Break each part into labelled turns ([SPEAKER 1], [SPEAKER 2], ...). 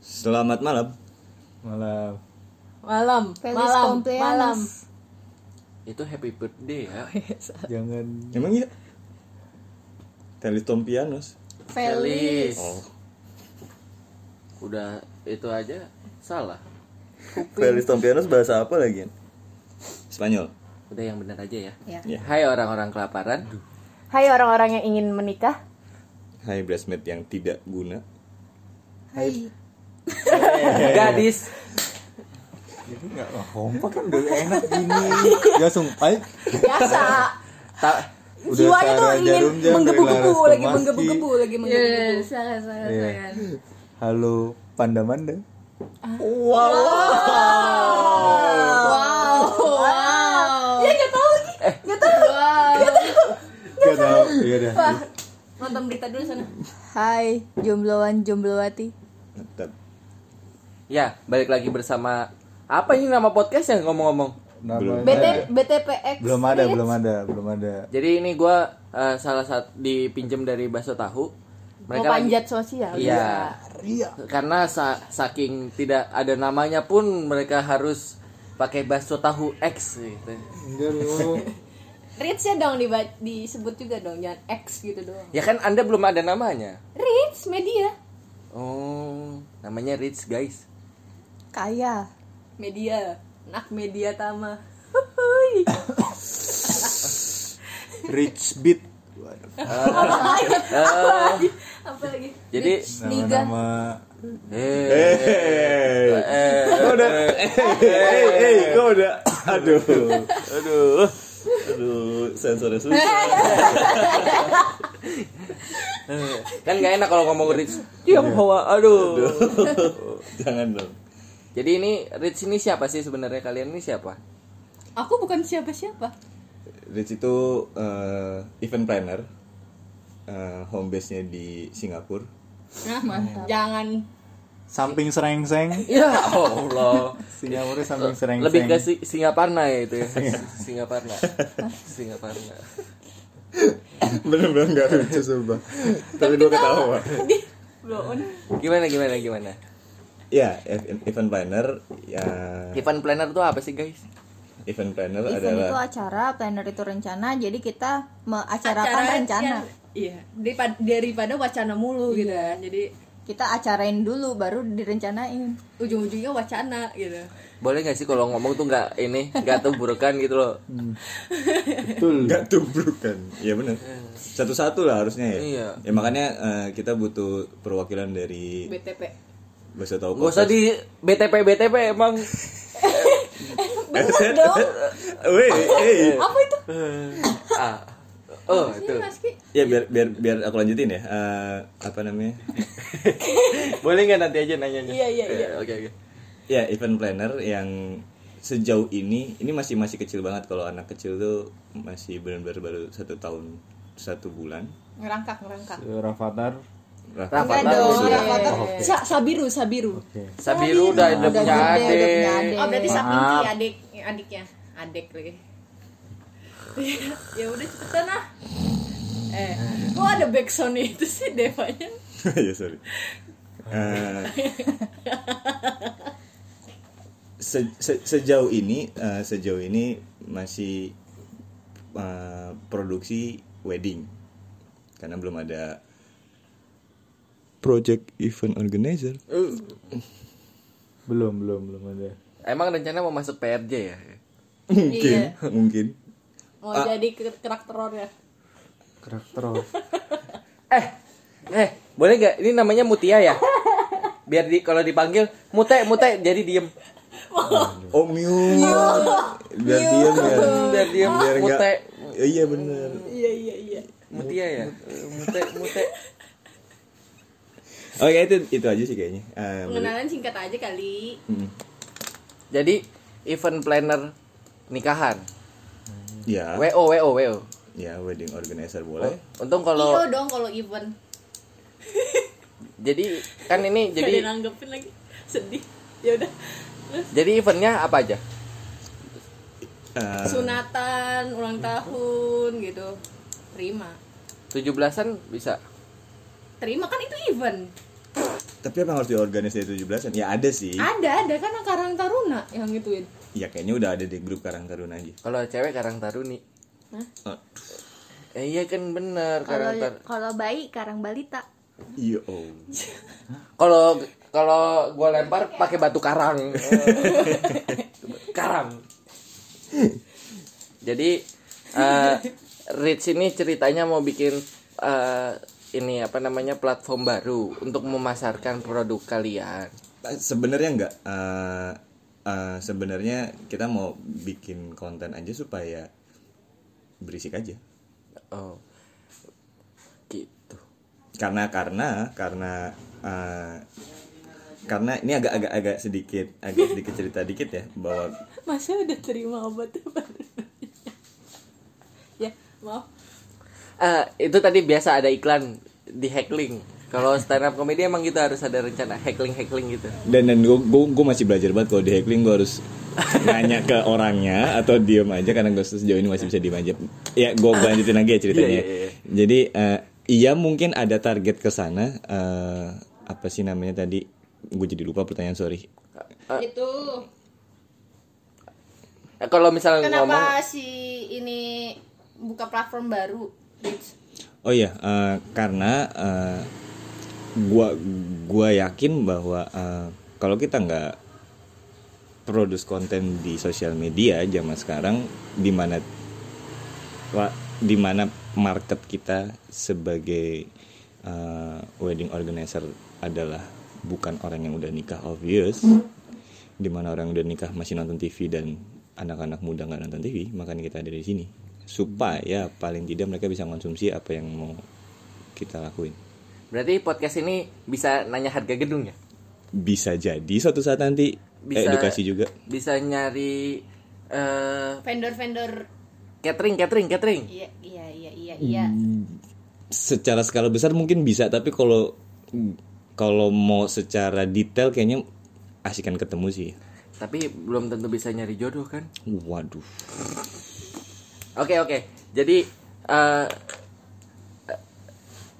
[SPEAKER 1] Selamat malam.
[SPEAKER 2] malam
[SPEAKER 3] Malam,
[SPEAKER 4] Feliz
[SPEAKER 3] malam,
[SPEAKER 4] cumpleaños.
[SPEAKER 3] malam.
[SPEAKER 5] Itu happy birthday ya.
[SPEAKER 2] jangan
[SPEAKER 1] Emang iya? Teleton pianos.
[SPEAKER 4] Feliz.
[SPEAKER 1] Oh.
[SPEAKER 5] Udah itu aja salah.
[SPEAKER 1] Teleton pianos bahasa apa lagi? Spanyol.
[SPEAKER 5] Udah yang benar aja ya.
[SPEAKER 4] Ya.
[SPEAKER 1] Ya.
[SPEAKER 5] Hai orang-orang kelaparan.
[SPEAKER 3] Hai orang-orang yang ingin menikah.
[SPEAKER 1] Hai bridesmaid yang tidak guna.
[SPEAKER 4] Hai.
[SPEAKER 5] Gadis.
[SPEAKER 2] jadi nggak wah, kompak kan udah enak gini langsung ayo
[SPEAKER 3] Biasa.
[SPEAKER 5] Ta-
[SPEAKER 2] Udah
[SPEAKER 3] Jiwanya tuh
[SPEAKER 2] Sarah
[SPEAKER 3] ingin
[SPEAKER 2] Jarum Jam,
[SPEAKER 3] menggebu-gebu,
[SPEAKER 2] Rila
[SPEAKER 3] Oh, lagi
[SPEAKER 2] Restomaski.
[SPEAKER 3] menggebu-gebu, lagi menggebu-gebu.
[SPEAKER 4] Sangat sangat
[SPEAKER 2] Iya.
[SPEAKER 4] sangat.
[SPEAKER 2] halo pandamanda
[SPEAKER 4] Wow. Wow.
[SPEAKER 3] Ya nggak tahu lagi,
[SPEAKER 2] Eh.
[SPEAKER 3] nggak tahu.
[SPEAKER 2] gak tau iya dah
[SPEAKER 3] Nonton berita dulu sana.
[SPEAKER 4] Hai, jombloan jomblowati.
[SPEAKER 1] Mantap.
[SPEAKER 5] ya, balik lagi bersama apa ini nama podcast yang ngomong-ngomong?
[SPEAKER 2] Namanya-
[SPEAKER 4] BT BTPX.
[SPEAKER 2] belum ada belum ada belum ada
[SPEAKER 5] Jadi ini gua eh, salah satu dipinjam dari Baso Tahu.
[SPEAKER 3] Mau
[SPEAKER 5] lagi-
[SPEAKER 3] panjat sosial.
[SPEAKER 4] ya.
[SPEAKER 5] Iya. Karena sa- saking tidak ada namanya pun mereka harus pakai bakso tahu X gitu.
[SPEAKER 2] enggak lu
[SPEAKER 3] Reach-nya ya dong diba- disebut juga dong, jangan X gitu doang.
[SPEAKER 5] Ya kan Anda belum ada namanya.
[SPEAKER 3] Reach media.
[SPEAKER 5] Oh, namanya Rich guys.
[SPEAKER 4] Kaya.
[SPEAKER 3] Media. Nak media tama.
[SPEAKER 2] rich beat Waduh.
[SPEAKER 3] Apa lagi?
[SPEAKER 5] Jadi
[SPEAKER 2] nama-nama
[SPEAKER 5] eh, eh,
[SPEAKER 1] Kau udah. Hey, hey, kau udah. Aduh. Aduh. Aduh, sensornya susah.
[SPEAKER 5] kan nggak enak kalau ngomong Rich. Dia bawa aduh.
[SPEAKER 1] Jangan dong.
[SPEAKER 5] Jadi ini Rich ini siapa sih sebenarnya kalian ini siapa?
[SPEAKER 3] Aku bukan siapa-siapa.
[SPEAKER 1] Rich itu eh, event planner. Eh, home base-nya di Singapura.
[SPEAKER 3] Nah, mantap. Jangan
[SPEAKER 2] samping serengseng
[SPEAKER 5] Ya Allah.
[SPEAKER 2] Singapura samping serengseng
[SPEAKER 5] Lebih ke si Singaparna ya itu ya. Singaparna. Singaparna.
[SPEAKER 1] Bener-bener gak lucu sumpah. Tapi gue ketawa.
[SPEAKER 3] blow on.
[SPEAKER 5] Gimana gimana gimana?
[SPEAKER 1] Ya, ev- event planner ya
[SPEAKER 5] Event planner tuh apa sih guys?
[SPEAKER 1] event planner
[SPEAKER 4] Event
[SPEAKER 1] adalah
[SPEAKER 4] itu acara, planner itu rencana. Jadi kita mengacarakan rencana.
[SPEAKER 3] yang- Iya, daripada, daripada wacana mulu gitu kan. Jadi
[SPEAKER 4] Kita acarain dulu baru direncanain.
[SPEAKER 3] ujung-ujungnya wacana gitu.
[SPEAKER 5] Boleh nggak sih kalau ngomong tuh nggak ini nggak tubrukan gitu loh?
[SPEAKER 2] betul
[SPEAKER 1] nggak tubrukan ya bener satu-satu lah harusnya ya
[SPEAKER 5] Iya.
[SPEAKER 1] ya makanya eh, kita butuh perwakilan dari
[SPEAKER 3] BTP.
[SPEAKER 1] bahasa tahu
[SPEAKER 5] Gak usah di BTP BTP emang
[SPEAKER 3] Bener dong.
[SPEAKER 1] Weh, eh.
[SPEAKER 3] Apa itu?
[SPEAKER 5] ah oh itu
[SPEAKER 3] Mas Ki?
[SPEAKER 1] ya biar biar biar aku lanjutin ya Eh, apa namanya
[SPEAKER 5] boleh nggak nanti aja nanyanya?
[SPEAKER 3] Iya, iya, iya.
[SPEAKER 5] Eh, Oke oke.
[SPEAKER 1] ya event planner yang sejauh ini ini masih masih kecil banget kalau anak kecil tuh masih benar-benar baru satu tahun satu bulan
[SPEAKER 3] Ngerangkak, ngerangkak.
[SPEAKER 2] Eh, Rafathar
[SPEAKER 1] Rafa
[SPEAKER 4] Enggak
[SPEAKER 5] Rafathar
[SPEAKER 1] iya.
[SPEAKER 4] dong,
[SPEAKER 5] udah.
[SPEAKER 3] Eh.
[SPEAKER 4] Rafathar.
[SPEAKER 3] Oh, Sa- sabiru, sabiru.
[SPEAKER 5] Sabiru udah ada
[SPEAKER 4] Udah
[SPEAKER 5] punya
[SPEAKER 4] gede, udah
[SPEAKER 5] adik.
[SPEAKER 4] punya adik.
[SPEAKER 3] Oh, berarti
[SPEAKER 2] Maaf.
[SPEAKER 3] saking Ki adik adiknya. Adik lagi. ya udah cepetan ah. Eh, kok ada backsound itu sih Devanya?
[SPEAKER 1] ya sorry. Eh, se- se- sejauh ini eh, sejauh ini masih eh, produksi wedding karena belum ada project event organizer
[SPEAKER 5] Eh,
[SPEAKER 2] belum belum belum ada
[SPEAKER 5] Emang rencana mau masuk PRJ ya?
[SPEAKER 1] mungkin mungkin
[SPEAKER 3] Mau jadi karakterornya.
[SPEAKER 2] karakter
[SPEAKER 5] Eh eh boleh nggak? Ini namanya Mutia ya? Biar di kalau dipanggil Mute Mute jadi diem.
[SPEAKER 1] oh mute biar diam ya
[SPEAKER 5] Biar diem
[SPEAKER 1] biar nggak
[SPEAKER 5] Mute
[SPEAKER 1] Ya, iya benar
[SPEAKER 3] Iya, iya, iya.
[SPEAKER 5] Mutia ya? Eh, Mute Mute.
[SPEAKER 1] oke itu itu aja sih kayaknya Eh,
[SPEAKER 3] Pengenalan singkat aja kali.
[SPEAKER 1] mm,
[SPEAKER 5] Jadi event planner nikahan.
[SPEAKER 1] ya
[SPEAKER 5] WO WO WO.
[SPEAKER 1] ya wedding organizer boleh
[SPEAKER 5] Untung
[SPEAKER 3] Iyo
[SPEAKER 5] kalau
[SPEAKER 3] dong kalau event.
[SPEAKER 5] jadi kan ini
[SPEAKER 3] Jadi
[SPEAKER 5] jadi
[SPEAKER 3] nanggepin lagi. Sedih. Ya udah.
[SPEAKER 5] jadi eventnya apa aja?
[SPEAKER 1] Eh,
[SPEAKER 3] Sunatan, ulang tahun gitu. Terima.
[SPEAKER 5] 17-an bisa.
[SPEAKER 3] Terima kan itu event.
[SPEAKER 1] Tapi apa yang harus diorganisasi 17-an? Ya ada sih.
[SPEAKER 3] Ada, ada kan Karang Taruna yang gituin.
[SPEAKER 1] Ya kayaknya udah ada di grup Karang Taruna aja.
[SPEAKER 5] Kalau cewek Karang Taruni.
[SPEAKER 1] Ah,
[SPEAKER 5] Eh, iya kan bener
[SPEAKER 4] Kalau ya-
[SPEAKER 5] Karang Taruni.
[SPEAKER 4] kalau bayi karang balita.
[SPEAKER 1] Iya oh.
[SPEAKER 5] Kalau kalau gua lempar pakai batu karang. karang. Jadi eh, Rich ini ceritanya mau bikin eh, ini apa namanya platform baru untuk memasarkan produk kalian.
[SPEAKER 1] Eh, Sebenarnya enggak. eh, eh, sebenarnya kita mau bikin konten aja supaya berisik aja.
[SPEAKER 5] Oh. Gitu.
[SPEAKER 1] karena karena karena eh, karena ini agak agak agak sedikit agak sedikit cerita dikit ya bahwa
[SPEAKER 3] Masa udah terima obatnya baru? ya, maaf.
[SPEAKER 5] Eh, itu tadi biasa ada iklan di heckling. Kalau stand up comedy emang gitu harus ada rencana heckling-heckling gitu.
[SPEAKER 1] dan dan gue masih belajar banget kalau di heckling gue harus nanya ke orangnya atau diem aja karena gue sejauh ini masih bisa diem aja ya gue lanjutin lagi ya ceritanya
[SPEAKER 5] Iya, iya, iya.
[SPEAKER 1] jadi eh, iya mungkin ada target ke sana eh, apa sih namanya tadi gue jadi lupa pertanyaan sorry
[SPEAKER 3] Itu
[SPEAKER 5] Eh, Kalau misalnya ngomong
[SPEAKER 3] kenapa si ini buka platform baru? Rich?
[SPEAKER 1] Oh iya, eh, karena eh, gua gua yakin bahwa eh, kalau kita nggak produce konten di sosial media zaman sekarang di mana wa- di mana market kita sebagai eh, wedding organizer adalah bukan orang yang udah nikah obvious di mana orang yang udah nikah masih nonton TV dan anak-anak muda nggak nonton TV makanya kita ada di sini supaya paling tidak mereka bisa konsumsi apa yang mau kita lakuin
[SPEAKER 5] berarti podcast ini bisa nanya harga gedung ya?
[SPEAKER 1] bisa jadi suatu saat nanti eh,
[SPEAKER 5] Bisa
[SPEAKER 1] edukasi juga
[SPEAKER 5] Bisa nyari eh
[SPEAKER 3] Vendor-vendor
[SPEAKER 5] catering, catering, catering.
[SPEAKER 3] Iya, iya, iya, iya, iya.
[SPEAKER 5] Hmm.
[SPEAKER 1] secara skala besar mungkin bisa tapi kalau kalau mau secara detail kayaknya asikan ketemu sih
[SPEAKER 5] Tapi belum tentu bisa nyari jodoh kan?
[SPEAKER 1] waduh
[SPEAKER 5] Oke oke. Jadi eh, eh,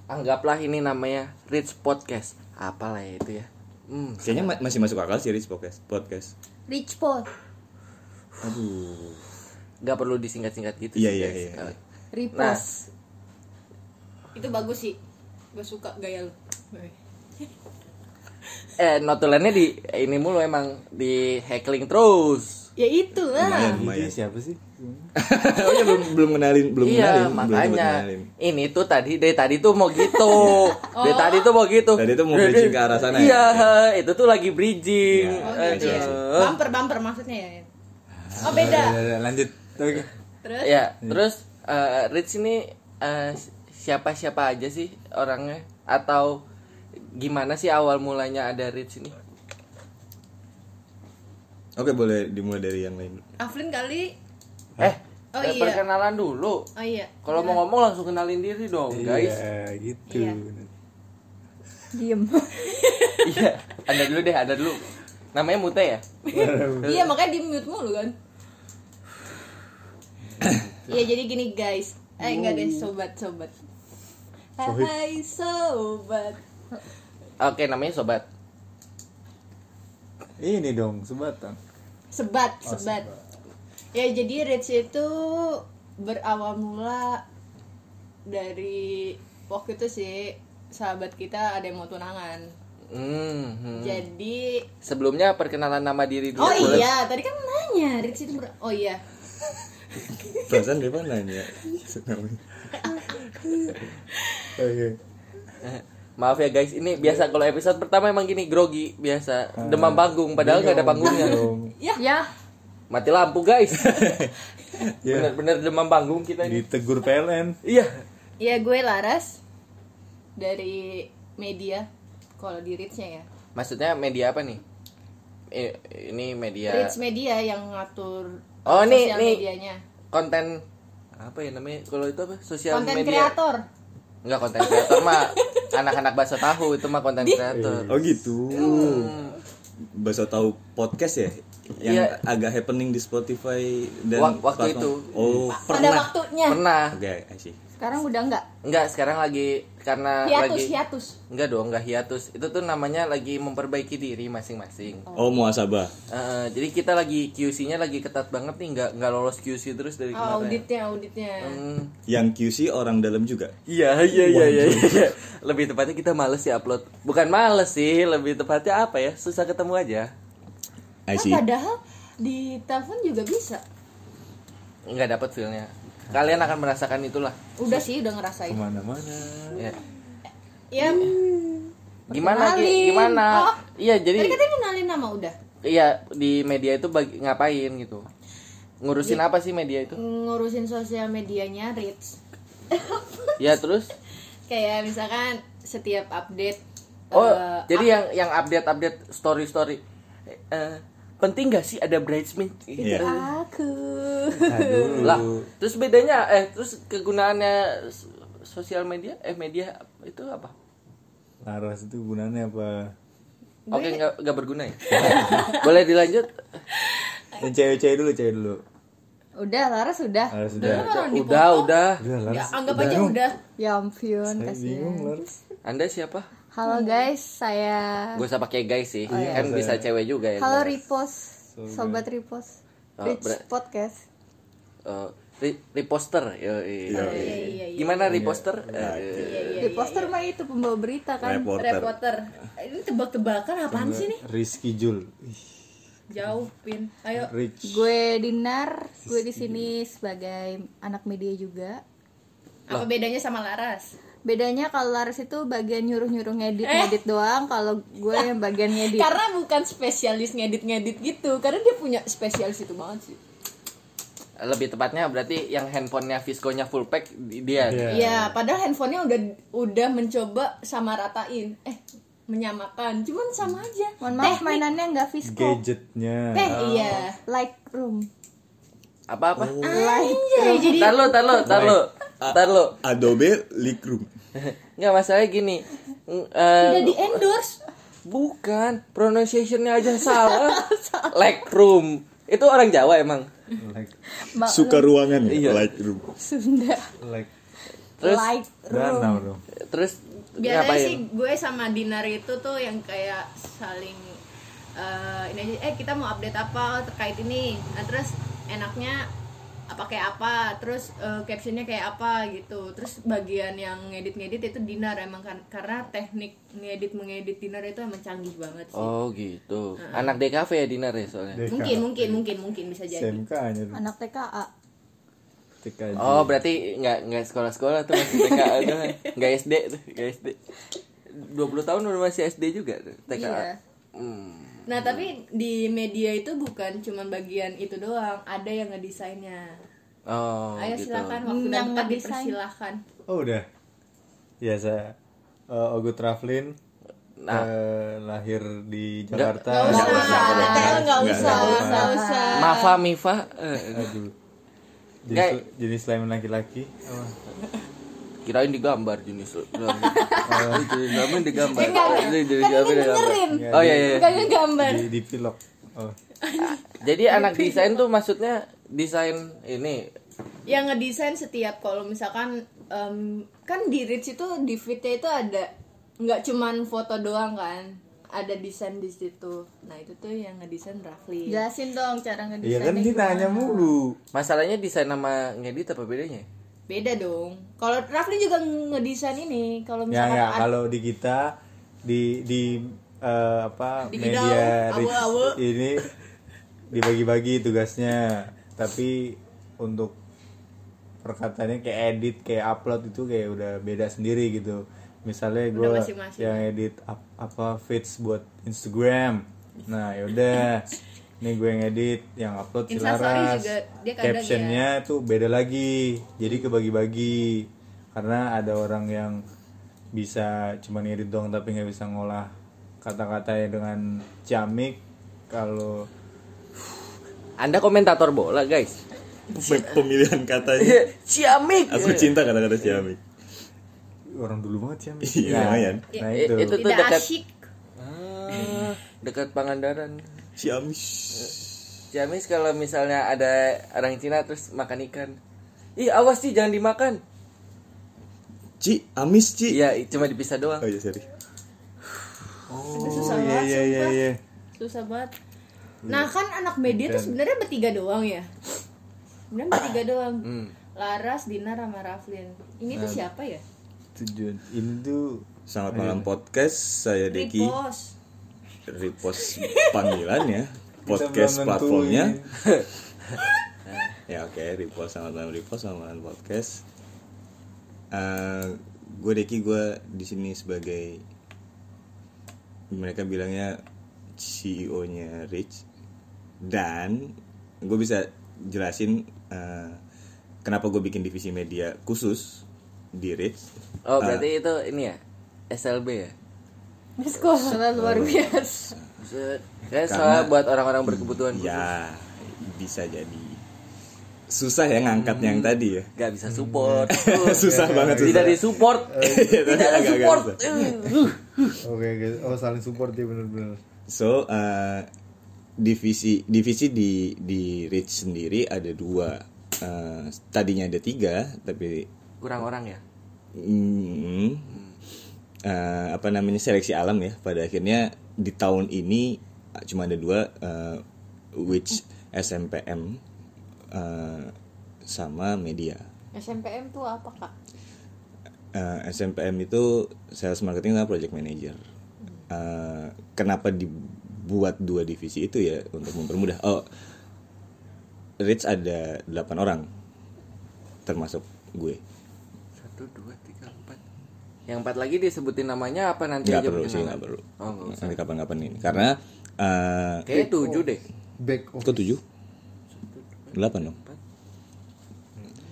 [SPEAKER 5] anggaplah ini namanya Rich Podcast. Apalah ya itu ya. Hmm.
[SPEAKER 1] kayaknya ma- masih masuk akal sih Rich podcast podcast
[SPEAKER 4] Rich Paul.
[SPEAKER 5] Gak perlu disingkat-singkat gitu.
[SPEAKER 1] Iya,
[SPEAKER 5] sih,
[SPEAKER 1] iya,
[SPEAKER 5] guys.
[SPEAKER 1] iya, iya.
[SPEAKER 5] Eh, Nah,
[SPEAKER 4] Ripos.
[SPEAKER 3] Itu bagus sih. Gue suka gaya lu.
[SPEAKER 5] eh notulennya di eh, ini mulu emang di heckling terus.
[SPEAKER 3] Ya itu
[SPEAKER 1] lumayan
[SPEAKER 3] lah.
[SPEAKER 2] Jadi
[SPEAKER 1] lumayan
[SPEAKER 2] Iya, siapa sih?
[SPEAKER 1] Ah, iya. oh ya belum belum kenalin belum kenalin
[SPEAKER 5] iya,
[SPEAKER 1] belum sempat
[SPEAKER 5] makanya
[SPEAKER 1] kenalin.
[SPEAKER 5] ini tuh tadi dari tadi tuh mau gitu. Dari tadi tuh mau gitu.
[SPEAKER 1] Tadi tuh mau
[SPEAKER 5] Dari-
[SPEAKER 1] bridging ke arah sana ya?
[SPEAKER 5] Iya, itu tuh lagi bridging.
[SPEAKER 1] Iya,
[SPEAKER 3] Oh gitu ya.
[SPEAKER 5] Aduh.
[SPEAKER 3] Bumper-bumper maksudnya ya. Oh beda.
[SPEAKER 2] Ya, ya, lanjut. Oke.
[SPEAKER 3] Terus
[SPEAKER 1] Iya.
[SPEAKER 5] Ya, terus eh, Rich ini eh, siapa-siapa aja sih orangnya atau gimana sih awal mulanya ada Rich ini?
[SPEAKER 1] oke boleh dimulai dari yang lain dulu.
[SPEAKER 3] Aflin kali.
[SPEAKER 5] Eh,
[SPEAKER 3] Oh
[SPEAKER 5] eh,
[SPEAKER 3] iya.
[SPEAKER 5] perkenalan dulu.
[SPEAKER 3] Oh iya.
[SPEAKER 5] Kalau mau ngomong langsung kenalin diri dong, guys.
[SPEAKER 2] Iya, gitu.
[SPEAKER 3] Iya.
[SPEAKER 4] Diem.
[SPEAKER 5] Iya, ada dulu deh, ada dulu. Namanya Mute ya?
[SPEAKER 3] Iya makanya di mute mulu kan. Iya jadi gini guys. Eh enggak guys sobat sobat. Hai sobat.
[SPEAKER 5] Oke, namanya Sobat.
[SPEAKER 2] Ini dong, sebatan.
[SPEAKER 3] Sebat
[SPEAKER 5] Oh,
[SPEAKER 3] sebat. Ya jadi Rich itu berawal mula dari waktu itu sih sahabat kita ada yang mau tunangan.
[SPEAKER 5] Hmm, hmm.
[SPEAKER 3] Jadi
[SPEAKER 5] Sebelumnya perkenalan nama diri dulu.
[SPEAKER 3] Oh
[SPEAKER 5] boleh?
[SPEAKER 3] iya, tadi kan nanya Rich itu ber- Oh iya.
[SPEAKER 1] perasaan dari mana ini ya
[SPEAKER 2] Oke.
[SPEAKER 5] Eh, Maaf ya guys, ini biasa kalau episode pertama emang gini grogi biasa demam panggung padahal nggak ada panggungnya.
[SPEAKER 2] Dong.
[SPEAKER 4] ya.
[SPEAKER 5] Mati lampu guys.
[SPEAKER 2] Ya,
[SPEAKER 5] Bener-bener demam panggung kita ini.
[SPEAKER 2] ditegur PLN.
[SPEAKER 5] Iya.
[SPEAKER 3] Ya gue Laras dari media kalau di Rich-nya ya.
[SPEAKER 5] Maksudnya media apa nih? I- Ini media
[SPEAKER 3] Rich Media yang ngatur
[SPEAKER 5] Ya. Oh, nih,
[SPEAKER 3] sosial
[SPEAKER 5] nih.
[SPEAKER 3] medianya.
[SPEAKER 5] konten apa ya namanya? Kalau itu apa? Sosial
[SPEAKER 3] Konten
[SPEAKER 5] media.
[SPEAKER 3] kreator.
[SPEAKER 5] Enggak konten kreator mah anak-anak bakso tahu itu mah konten kreator.
[SPEAKER 1] oh gitu Bahasa tahu podcast ya yang
[SPEAKER 5] Iya.
[SPEAKER 1] agak happening di Spotify dan
[SPEAKER 5] Wak- waktu
[SPEAKER 1] platform.
[SPEAKER 5] itu.
[SPEAKER 1] oh
[SPEAKER 3] Pada
[SPEAKER 1] pernah
[SPEAKER 3] waktunya.
[SPEAKER 5] Pernah
[SPEAKER 1] oke I see.
[SPEAKER 4] Sekarang udah enggak?
[SPEAKER 5] Enggak, sekarang lagi karena
[SPEAKER 3] hiatus
[SPEAKER 5] lagi
[SPEAKER 3] hiatus
[SPEAKER 5] Enggak dong, enggak hiatus. Itu tuh namanya lagi memperbaiki diri masing-masing.
[SPEAKER 1] Oh muasabah.
[SPEAKER 5] Eh, jadi kita lagi QC-nya lagi ketat banget nih, enggak enggak lolos QC terus dari
[SPEAKER 3] Ah,
[SPEAKER 5] kemarin.
[SPEAKER 3] auditnya auditnya
[SPEAKER 5] Hmm,
[SPEAKER 1] Yang QC orang dalam juga.
[SPEAKER 5] Iya, iya, iya, iya, iya. Lebih tepatnya kita males ya upload. Bukan males sih, lebih tepatnya apa ya? Susah ketemu aja.
[SPEAKER 1] I
[SPEAKER 3] Ah,
[SPEAKER 1] see.
[SPEAKER 3] padahal di telepon juga bisa
[SPEAKER 5] Enggak dapat feel-nya. Kalian akan merasakan itulah.
[SPEAKER 3] udah sih udah ngerasain
[SPEAKER 2] kemana-mana
[SPEAKER 5] Ya.
[SPEAKER 3] ya
[SPEAKER 5] Gimana? Ki?
[SPEAKER 4] Perkenalin.
[SPEAKER 5] Gimana?
[SPEAKER 3] Oh.
[SPEAKER 5] Iya, jadi
[SPEAKER 3] tadi katanya kenalin nama udah
[SPEAKER 5] iya di media itu bagi, ngapain gitu. Ngurusin
[SPEAKER 3] Iya.
[SPEAKER 5] apa sih media itu?
[SPEAKER 3] ngurusin sosial medianya Rich
[SPEAKER 5] Ya terus
[SPEAKER 3] kayak misalkan setiap update
[SPEAKER 5] Oh,
[SPEAKER 3] eh,
[SPEAKER 5] jadi yang yang update-update story-story. Eh, eh, penting gak sih ada bridesmaid? Gitu.
[SPEAKER 1] Iya.
[SPEAKER 4] Aku.
[SPEAKER 3] Hmm.
[SPEAKER 2] aduh
[SPEAKER 5] Lah, terus bedanya eh terus kegunaannya s- sosial media eh media itu apa?
[SPEAKER 2] laras itu gunanya apa
[SPEAKER 5] Oke, nggak nggak berguna ya. Boleh dilanjut?
[SPEAKER 2] yang cewek-cewek dulu cewek dulu
[SPEAKER 4] Udah, Laras sudah.
[SPEAKER 2] laras
[SPEAKER 3] Iya.
[SPEAKER 2] sudah
[SPEAKER 5] Udah, udah.
[SPEAKER 2] udah
[SPEAKER 3] ya,
[SPEAKER 2] laras
[SPEAKER 3] anggap aja udah
[SPEAKER 4] Ya ampun,
[SPEAKER 2] Saya
[SPEAKER 4] kasihan.
[SPEAKER 2] bingung laras
[SPEAKER 5] Anda siapa?
[SPEAKER 4] Halo guys, saya
[SPEAKER 5] Gue usah pakai guys
[SPEAKER 3] Oh,
[SPEAKER 5] sih.
[SPEAKER 3] iya.
[SPEAKER 5] kan bisa cewek juga ya.
[SPEAKER 4] Halo Ripos, sobat Ripos.
[SPEAKER 5] Oh,
[SPEAKER 4] Rich
[SPEAKER 5] ber-
[SPEAKER 4] Podcast.
[SPEAKER 5] Eh, re- reposter. Yoi.
[SPEAKER 3] iya, iya, iya.
[SPEAKER 5] Gimana reposter? Eh,
[SPEAKER 3] Iya, iya,
[SPEAKER 4] Di poster mah itu pembawa berita kan.
[SPEAKER 1] Reporter.
[SPEAKER 3] reporter ini tebak-tebakan apaan sih nih
[SPEAKER 2] Rizky Jul Ih,
[SPEAKER 3] jauh pin ayo
[SPEAKER 2] Rich
[SPEAKER 4] Gue Dinar, gue di sini sebagai anak media juga.
[SPEAKER 3] apa bedanya sama Laras
[SPEAKER 4] Bedanya kalau Laras itu bagian nyuruh-nyuruh ngedit ngedit doang, kalau gue yang bagian ngedit.
[SPEAKER 3] Eh. karena bukan spesialis ngedit-ngedit gitu karena dia punya spesialis itu banget sih
[SPEAKER 5] lebih tepatnya berarti yang handphonenya Visco-nya full pack di- dia.
[SPEAKER 3] Iya, padahal handphonenya udah udah mencoba sama ratain, eh menyamakan, cuman sama aja.
[SPEAKER 4] Mohon maaf mainannya nggak Visco,
[SPEAKER 2] gadgetnya
[SPEAKER 3] Eh iya,
[SPEAKER 4] Lightroom.
[SPEAKER 5] Apa-apa?
[SPEAKER 3] Oh. anjay jadi
[SPEAKER 5] Tar lu, tar lu, tar lu. Tar lu.
[SPEAKER 1] Adobe Lightroom.
[SPEAKER 5] Nggak masalah gini. Ng- eh,
[SPEAKER 3] udah di endorse.
[SPEAKER 5] bukan pronunciation-nya aja salah. Lightroom. Itu orang Jawa emang.
[SPEAKER 2] like
[SPEAKER 1] Suka ruangan ya,
[SPEAKER 5] Iya.
[SPEAKER 1] Lightroom.
[SPEAKER 4] Sunda.
[SPEAKER 2] like
[SPEAKER 5] Terus
[SPEAKER 2] danau dong
[SPEAKER 5] terus
[SPEAKER 3] Biasanya
[SPEAKER 5] ngapain?
[SPEAKER 3] sih gue sama Dinar itu tuh yang kayak saling eh, ini aja, eh kita mau update apa terkait ini. Nah, terus enaknya apa kayak apa, terus eh, captionnya kayak apa gitu. Terus bagian yang ngedit-ngedit itu Dinar emang kan karena teknik ngedit mengedit Dinar itu emang canggih banget sih.
[SPEAKER 5] Oh gitu. Anak DKV ya Dinar ya soalnya.
[SPEAKER 3] Mungkin mungkin mungkin mungkin bisa jadi.
[SPEAKER 2] SMK hanya
[SPEAKER 4] Anak
[SPEAKER 3] Ah,
[SPEAKER 4] TKA.
[SPEAKER 2] TKJ
[SPEAKER 5] Oh berarti nggak nggak sekolah-sekolah tuh masih TKA doang. Nggak SD tuh, nggak SD. 20 tahun udah masih SD juga tuh, TKA.
[SPEAKER 4] Iya.
[SPEAKER 5] Hmm.
[SPEAKER 3] Nah tapi di media itu bukan cuma bagian itu doang, ada yang ngedesainnya.
[SPEAKER 5] Oh,
[SPEAKER 3] Ayo
[SPEAKER 5] gitu.
[SPEAKER 3] silakan waktu
[SPEAKER 4] Yang
[SPEAKER 3] dan tempat
[SPEAKER 4] ngedesain.
[SPEAKER 3] dipersilahkan.
[SPEAKER 2] oh udah biasa Eh, Ogut Raflin
[SPEAKER 5] Nah.
[SPEAKER 2] eh, lahir di Jakarta
[SPEAKER 3] Nggak usah, detail nggak
[SPEAKER 1] Nggak,
[SPEAKER 3] usah,
[SPEAKER 1] nggak
[SPEAKER 3] nggak usah.
[SPEAKER 5] Mafa Mifa. eh,
[SPEAKER 2] Aduh.
[SPEAKER 5] Kayak-
[SPEAKER 2] Jenis, jenis lain laki-laki Apa?
[SPEAKER 5] kirain digambar jenis lu. Digambar digambar.
[SPEAKER 3] Enggak, enggak. Kan
[SPEAKER 5] Jadi
[SPEAKER 3] ini
[SPEAKER 5] digambar, digambar.
[SPEAKER 3] dengerin.
[SPEAKER 5] Oh iya iya.
[SPEAKER 3] Bukan gambar.
[SPEAKER 2] di, di pilok oh.
[SPEAKER 5] Jadi anak desain tuh maksudnya desain ini
[SPEAKER 3] Yang ngedesain setiap kalau misalkan em, kan di Rich itu di feednya itu ada nggak cuman foto doang kan, ada desain di situ. Nah itu tuh yang ngedesain Rafli.
[SPEAKER 4] Jelasin dong cara ngedesainnya.
[SPEAKER 2] Iya kan kita
[SPEAKER 4] gimana.
[SPEAKER 2] nanya mulu
[SPEAKER 5] masalahnya desain sama ngedit apa bedanya?
[SPEAKER 3] Beda dong. Kalau Rafli juga ngedesain ini, kalau
[SPEAKER 2] Ya
[SPEAKER 3] misalkan
[SPEAKER 2] ya
[SPEAKER 3] ada-
[SPEAKER 2] kalau di kita di di eh, apa
[SPEAKER 3] Di kita,
[SPEAKER 2] media
[SPEAKER 3] awu,
[SPEAKER 2] rich
[SPEAKER 3] awu.
[SPEAKER 2] ini dibagi-bagi tugasnya tapi untuk perkataannya kayak edit kayak upload itu kayak udah beda sendiri gitu misalnya gue
[SPEAKER 3] masing-masing.
[SPEAKER 2] yang edit ap- apa feeds buat Instagram nah yaudah nih gue yang edit yang upload si
[SPEAKER 3] Instastory
[SPEAKER 2] Laras
[SPEAKER 3] juga dia kadang ya.
[SPEAKER 2] captionnya tuh beda lagi jadi kebagi-bagi karena ada orang yang bisa cuma ngedit doang tapi nggak bisa ngolah kata-katanya dengan ciamik kalau
[SPEAKER 5] Anda komentator bola, guys.
[SPEAKER 1] Pem- Pemilihan katanya.
[SPEAKER 5] Ciamik.
[SPEAKER 1] Aku cinta kata-kata ciamik.
[SPEAKER 2] orang dulu banget ciamik
[SPEAKER 1] Iya,
[SPEAKER 2] Nah,
[SPEAKER 1] lumayan.
[SPEAKER 2] nah
[SPEAKER 5] I-
[SPEAKER 2] itu
[SPEAKER 5] Eh, itu tuh
[SPEAKER 3] tidak
[SPEAKER 5] dekat
[SPEAKER 3] asyik.
[SPEAKER 5] Ah, dekat Pangandaran.
[SPEAKER 1] Ciamis.
[SPEAKER 5] Ciamis kalau misalnya ada orang Cina terus makan ikan. Ih, awas sih jangan dimakan.
[SPEAKER 1] Ci, amis Ci.
[SPEAKER 5] Iya, cuma dipisah doang.
[SPEAKER 1] Oh iya, sorry.
[SPEAKER 3] susah
[SPEAKER 2] iya
[SPEAKER 3] banget
[SPEAKER 2] iya iya
[SPEAKER 3] kan
[SPEAKER 2] Hmm.
[SPEAKER 3] sumpah.
[SPEAKER 2] iya
[SPEAKER 3] susah banget nah kan anak media tuh sebenarnya bertiga doang ya sebenarnya bertiga doang
[SPEAKER 2] Hmm.
[SPEAKER 3] Laras Dinar sama Raflin ini tuh siapa ya
[SPEAKER 2] tujuan itu
[SPEAKER 1] Selamat malam podcast, saya Deki.
[SPEAKER 3] Repost
[SPEAKER 1] Repost panggilannya, podcast
[SPEAKER 2] belum nentuin.
[SPEAKER 1] platformnya. ya oke, repost selamat malam repost, selamat malam podcast. Eh, gue Deki, gue di sini sebagai mereka bilangnya CEO-nya Rich dan gue bisa jelasin eh, kenapa gue bikin divisi media khusus di Rich
[SPEAKER 5] Oh, berarti itu ini ya. SLB ya.
[SPEAKER 4] sekolah luar biasa
[SPEAKER 5] Buset. Kayak soalnya buat orang-orang berkebutuhan khusus.
[SPEAKER 1] Ya, bisa jadi. Susah ya ngangkat yang tadi ya.
[SPEAKER 5] Gak bisa support.
[SPEAKER 1] Susah banget,
[SPEAKER 5] Tidak
[SPEAKER 1] susah.
[SPEAKER 5] disupport. Tidak ada
[SPEAKER 1] Agak-agak
[SPEAKER 5] support. Uh.
[SPEAKER 2] oke guys oh saling support ya benar-benar
[SPEAKER 1] So, eh, divisi divisi di di Rich sendiri ada dua. Eh, tadinya ada tiga, tapi
[SPEAKER 5] Kurang orang ya.
[SPEAKER 1] mm, eh, apa namanya seleksi alam ya. Pada akhirnya di tahun ini eh, cuma ada dua, eh, which SMPM eh, sama media.
[SPEAKER 4] SMPM tuh apa kak?
[SPEAKER 1] Eh, SMPM itu sales marketing sama project manager. Eh, kenapa dibuat dua divisi itu ya untuk mempermudah. Oh, Rich ada 8 orang termasuk gue.
[SPEAKER 5] Satu, dua, tiga, empat. Yang empat lagi disebutin namanya apa nanti
[SPEAKER 1] Nggak
[SPEAKER 5] aja
[SPEAKER 1] perlu sih,
[SPEAKER 5] perkenalan?
[SPEAKER 1] nggak perlu.
[SPEAKER 5] Iya, Oh, nggak usah.
[SPEAKER 1] Nanti kapan-kapan ini. Karena eh
[SPEAKER 5] Kayaknya tujuh deh.
[SPEAKER 2] back off
[SPEAKER 1] kok 7? 8 dong.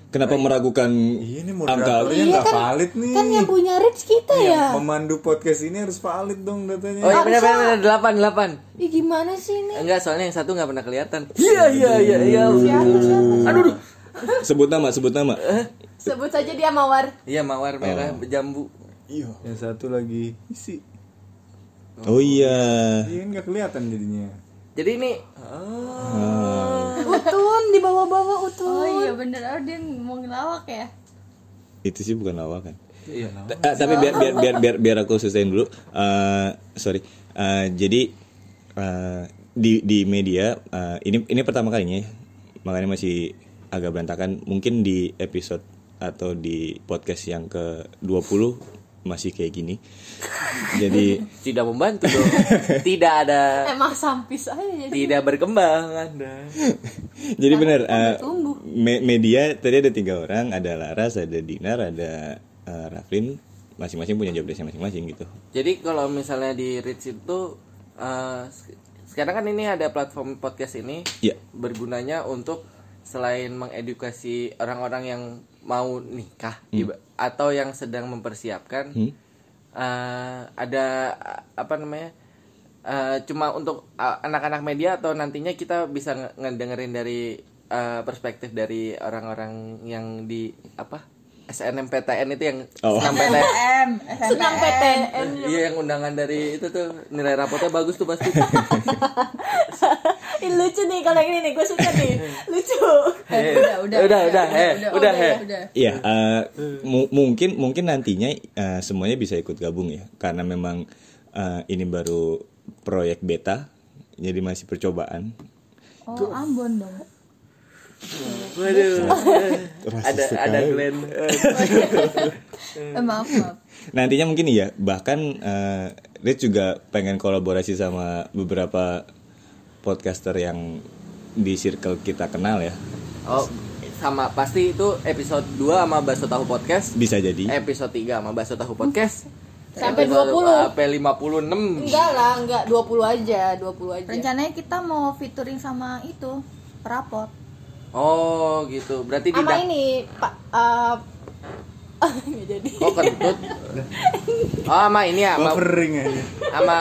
[SPEAKER 1] Kenapa meragukan
[SPEAKER 2] iya ini
[SPEAKER 1] angka?
[SPEAKER 2] moderatornya nggak valid nih
[SPEAKER 4] Kan yang punya Rich kita ya.
[SPEAKER 2] pemandu podcast ini harus valid dong
[SPEAKER 5] Oh,
[SPEAKER 2] datanya
[SPEAKER 5] iya benar benar benar. delapan, delapan.
[SPEAKER 4] Ih gimana sih ini?
[SPEAKER 5] Enggak, soalnya yang satu nggak pernah kelihatan. Iya, iya, iya, iya. Aduh, aduh.
[SPEAKER 1] Sebut nama, sebut nama.
[SPEAKER 5] Eh?
[SPEAKER 4] Sebut saja dia mawar.
[SPEAKER 5] Iya, mawar merah, jambu.
[SPEAKER 2] yang satu lagi isi
[SPEAKER 1] Oh iya.
[SPEAKER 2] iya kan nggak kelihatan jadinya
[SPEAKER 5] Jadi ini
[SPEAKER 4] Utun dibawa-bawa utun. Oh iya bener, oh, dia mau ngelawak ya.
[SPEAKER 1] Itu sih bukan kan? lawakan.
[SPEAKER 5] iya.
[SPEAKER 1] Ta- eh, tapi biar biar biar biar, biar aku selesaiin dulu. Eh, sorry. Eh, jadi eh, di di media eh, ini ini pertama kalinya ya. makanya masih agak berantakan. Mungkin di episode atau di podcast yang ke 20 masih kayak gini. Jadi
[SPEAKER 5] tidak membantu dong. tidak ada
[SPEAKER 4] Emang sampis aja ya. jadi.
[SPEAKER 5] tidak berkembang Anda.
[SPEAKER 1] jadi benar media tadi ada tiga orang, ada Laras, ada Dinar, ada eh, Raflin masing-masing punya job desk masing-masing gitu.
[SPEAKER 5] Jadi kalau misalnya di Reach itu eh, se- sekarang kan ini ada platform podcast ini
[SPEAKER 1] Iya.
[SPEAKER 5] bergunanya untuk selain mengedukasi orang-orang yang mau nikah iba- atau yang sedang mempersiapkan eh, ada a- apa namanya eh, cuma untuk a- anak-anak media atau nantinya kita bisa nge- ngedengerin dari eh, perspektif dari orang-orang yang di apa SNMPTN itu yang
[SPEAKER 1] Oh.
[SPEAKER 5] SNMPTN
[SPEAKER 4] Senang
[SPEAKER 6] eh.
[SPEAKER 4] PTN.
[SPEAKER 5] Iya yang undangan dari itu tuh nilai rapotnya bagus tuh pasti.
[SPEAKER 4] Ih, lucu nih kalau yang ini nih, gue suka nih. Lucu.
[SPEAKER 5] Eh, udah udah udah eh udah eh.
[SPEAKER 1] Iya, eh, mu- mungkin mungkin nantinya eh, semuanya bisa ikut gabung ya, karena memang eh, ini baru proyek beta, jadi masih percobaan.
[SPEAKER 4] Oh Ambon dong.
[SPEAKER 5] Waduh. ada
[SPEAKER 1] Rasis
[SPEAKER 5] ada
[SPEAKER 1] sekali.
[SPEAKER 5] Glenn. Eh,
[SPEAKER 4] Eh, maaf maaf.
[SPEAKER 1] Nantinya mungkin iya, bahkan eh, Rich juga pengen kolaborasi sama beberapa podcaster yang di circle kita kenal ya,
[SPEAKER 5] Oh sama pasti itu episode 2 sama Baso Tahu Podcast.
[SPEAKER 1] bisa jadi.
[SPEAKER 5] Episode 3 sama Baso Tahu Podcast.
[SPEAKER 4] Sampai
[SPEAKER 5] Episode
[SPEAKER 4] 20.
[SPEAKER 5] Sampai 56.
[SPEAKER 6] Enggak lah, enggak 20 aja, 20 aja.
[SPEAKER 4] Rencananya kita mau featuring sama itu perapot.
[SPEAKER 5] Oh gitu. Berarti di
[SPEAKER 6] Sama
[SPEAKER 5] dak-
[SPEAKER 6] ini Pak eh, nggak jadi.
[SPEAKER 5] Oh kentut. Oh sama ini ya sama,
[SPEAKER 2] buffering aja
[SPEAKER 5] sama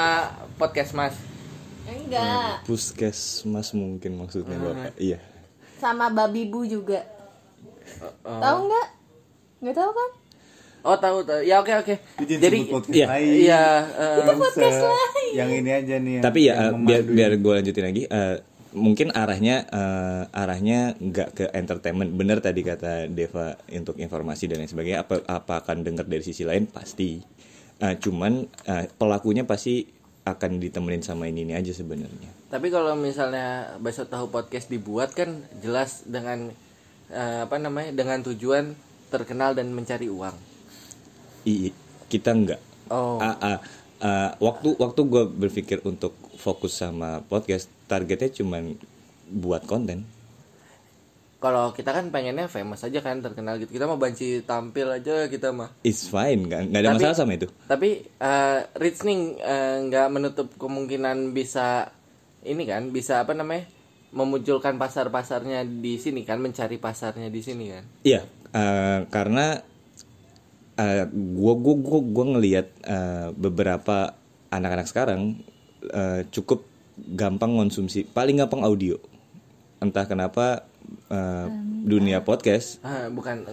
[SPEAKER 5] podcast Mas.
[SPEAKER 6] Enggak.
[SPEAKER 1] Puskesmas mungkin maksudnya bapak. Iya.
[SPEAKER 6] Sama babi bu juga. Tahu enggak? Enggak tahu kan?
[SPEAKER 5] Oh tahu tahu. Ya oke oke.
[SPEAKER 2] Itu jangan sebut podcast
[SPEAKER 1] iya,
[SPEAKER 2] lain.
[SPEAKER 5] iya, eh,
[SPEAKER 2] Yang se- Yang ini aja nih. yang-
[SPEAKER 1] Tapi ya
[SPEAKER 2] yang
[SPEAKER 1] eh, biar
[SPEAKER 2] memandu.
[SPEAKER 1] biar gue lanjutin lagi. eh, mungkin arahnya eh, arahnya nggak ke entertainment bener tadi kata Deva untuk informasi dan lain sebagainya apa apa akan dengar dari sisi lain pasti Eh, cuman eh, pelakunya pasti akan ditemenin sama ini ini aja sebenarnya
[SPEAKER 5] Tapi kalau misalnya besok tahu podcast dibuat kan jelas dengan eh, apa namanya dengan tujuan terkenal dan mencari uang.
[SPEAKER 1] I- kita nggak
[SPEAKER 5] Oh,
[SPEAKER 1] Ah, ah, ah, waktu waktu gue berpikir untuk fokus sama podcast targetnya cuman buat konten
[SPEAKER 5] kalau kita kan pengennya famous aja kan terkenal gitu. Kita mau banci tampil aja kita mah.
[SPEAKER 1] it's fine nggak nggak ada
[SPEAKER 5] Tapi-
[SPEAKER 1] masalah sama itu
[SPEAKER 5] Tapi eh Rich nih eh, nggak menutup kemungkinan bisa ini kan bisa apa namanya memunculkan pasar-pasarnya di sini kan mencari pasarnya di sini kan.
[SPEAKER 1] iya ah, karena eh, gue gue gue gue ngelihat ah, beberapa anak-anak sekarang ah, cukup gampang konsumsi paling gampang audio entah kenapa ah, dunia podcast
[SPEAKER 5] Ah, bukan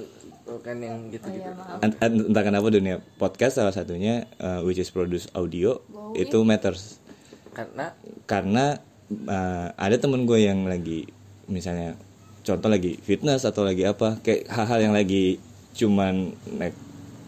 [SPEAKER 5] bukan yang gitu-gitu.
[SPEAKER 1] Ent- ent- entah kenapa dunia podcast salah satunya uh, which is produce audio itu matters
[SPEAKER 5] Karena
[SPEAKER 1] karena uh, ada temen gue yang lagi misalnya contoh lagi fitness atau lagi apa kayak hal-hal yang lagi cuman naik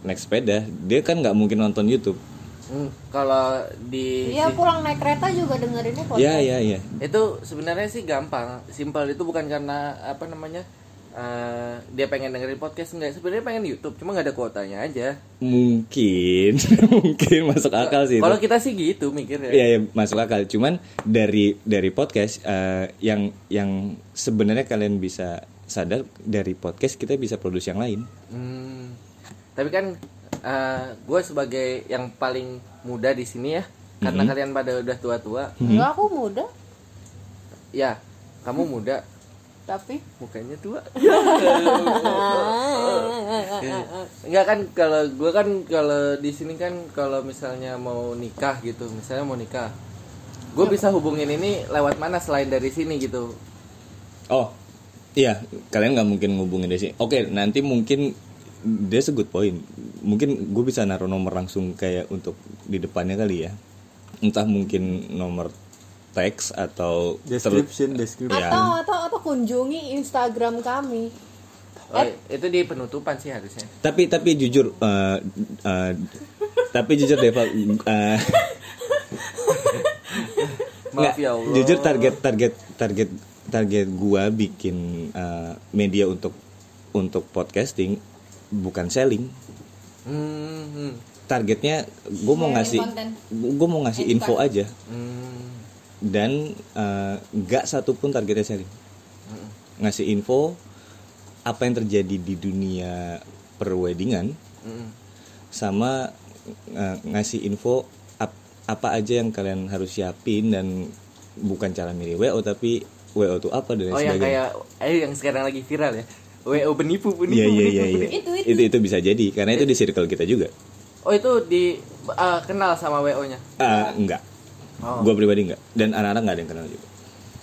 [SPEAKER 1] naik sepeda dia kan nggak mungkin nonton YouTube
[SPEAKER 5] Hmm, kalau di
[SPEAKER 6] Iya pulang naik kereta juga dengerinnya
[SPEAKER 5] Oh,
[SPEAKER 6] podcast.
[SPEAKER 1] ya
[SPEAKER 5] iya.
[SPEAKER 1] ya ya
[SPEAKER 5] itu sebenarnya sih gampang, simpel itu bukan karena apa namanya eh, dia pengen dengerin podcast enggak, sebenarnya pengen YouTube, cuma nggak ada kuotanya aja.
[SPEAKER 1] mungkin mungkin masuk akal sih Iya, itu.
[SPEAKER 5] Kalau kita sih gitu mikirnya.
[SPEAKER 1] Iya, iya, masuk akal. Cuman dari dari podcast eh, yang yang sebenarnya kalian bisa sadar dari podcast kita bisa produksi yang lain.
[SPEAKER 5] Hmm, tapi kan gue sebagai yang paling muda di sini ya, karena
[SPEAKER 1] Mm-hmm.
[SPEAKER 5] kalian pada udah tua-tua,
[SPEAKER 6] Enggak aku muda,
[SPEAKER 5] ya kamu muda,
[SPEAKER 6] tapi
[SPEAKER 5] mukanya tua. Iya. Enggak kan kalau gue kan kalau di sini kan kalau misalnya mau nikah gitu, misalnya mau nikah, gue bisa hubungin ini lewat mana selain dari sini gitu.
[SPEAKER 1] Oh, iya, kalian nggak mungkin ngubungin dari sini. Oke, nanti mungkin dia good point. Mungkin gue bisa naruh nomor langsung kayak untuk di depannya kali ya. Entah mungkin nomor teks atau ter-
[SPEAKER 2] Description, description.
[SPEAKER 1] Ya.
[SPEAKER 6] atau atau atau kunjungi Instagram kami.
[SPEAKER 5] Oh, itu di penutupan sih harusnya.
[SPEAKER 1] tapi tapi jujur eh, eh, tapi jujur Deva eh,
[SPEAKER 5] Maaf
[SPEAKER 1] Nggak,
[SPEAKER 5] ya Allah.
[SPEAKER 1] Jujur target target target target gua bikin eh, media untuk untuk podcasting bukan selling.
[SPEAKER 5] Hmm, hmm,
[SPEAKER 1] Targetnya gua mau ngasih gua mau ngasih info aja
[SPEAKER 5] hmm.
[SPEAKER 1] dan eh, nggak satupun targetnya selling.
[SPEAKER 5] Hmm.
[SPEAKER 1] Ngasih info apa yang terjadi di dunia perweddingan
[SPEAKER 5] Mm-mm.
[SPEAKER 1] sama eh, ngasih info ap- apa aja yang kalian harus siapin dan bukan cara milih WO tapi WO itu apa dan lain
[SPEAKER 5] Oh yang
[SPEAKER 1] sebagainya.
[SPEAKER 5] kayak eh yang sekarang lagi viral ya. WO penipu, penipu,
[SPEAKER 1] Iya iya
[SPEAKER 5] penipu,
[SPEAKER 1] iya iya.
[SPEAKER 5] penipu.
[SPEAKER 1] Itu, itu bisa jadi karena itu di circle kita juga.
[SPEAKER 5] Oh itu di eh, kenal sama WO-nya.
[SPEAKER 1] Ah, enggak.
[SPEAKER 5] Iya. Oh.
[SPEAKER 1] Gue pribadi enggak dan anak-anak enggak ada yang kenal juga.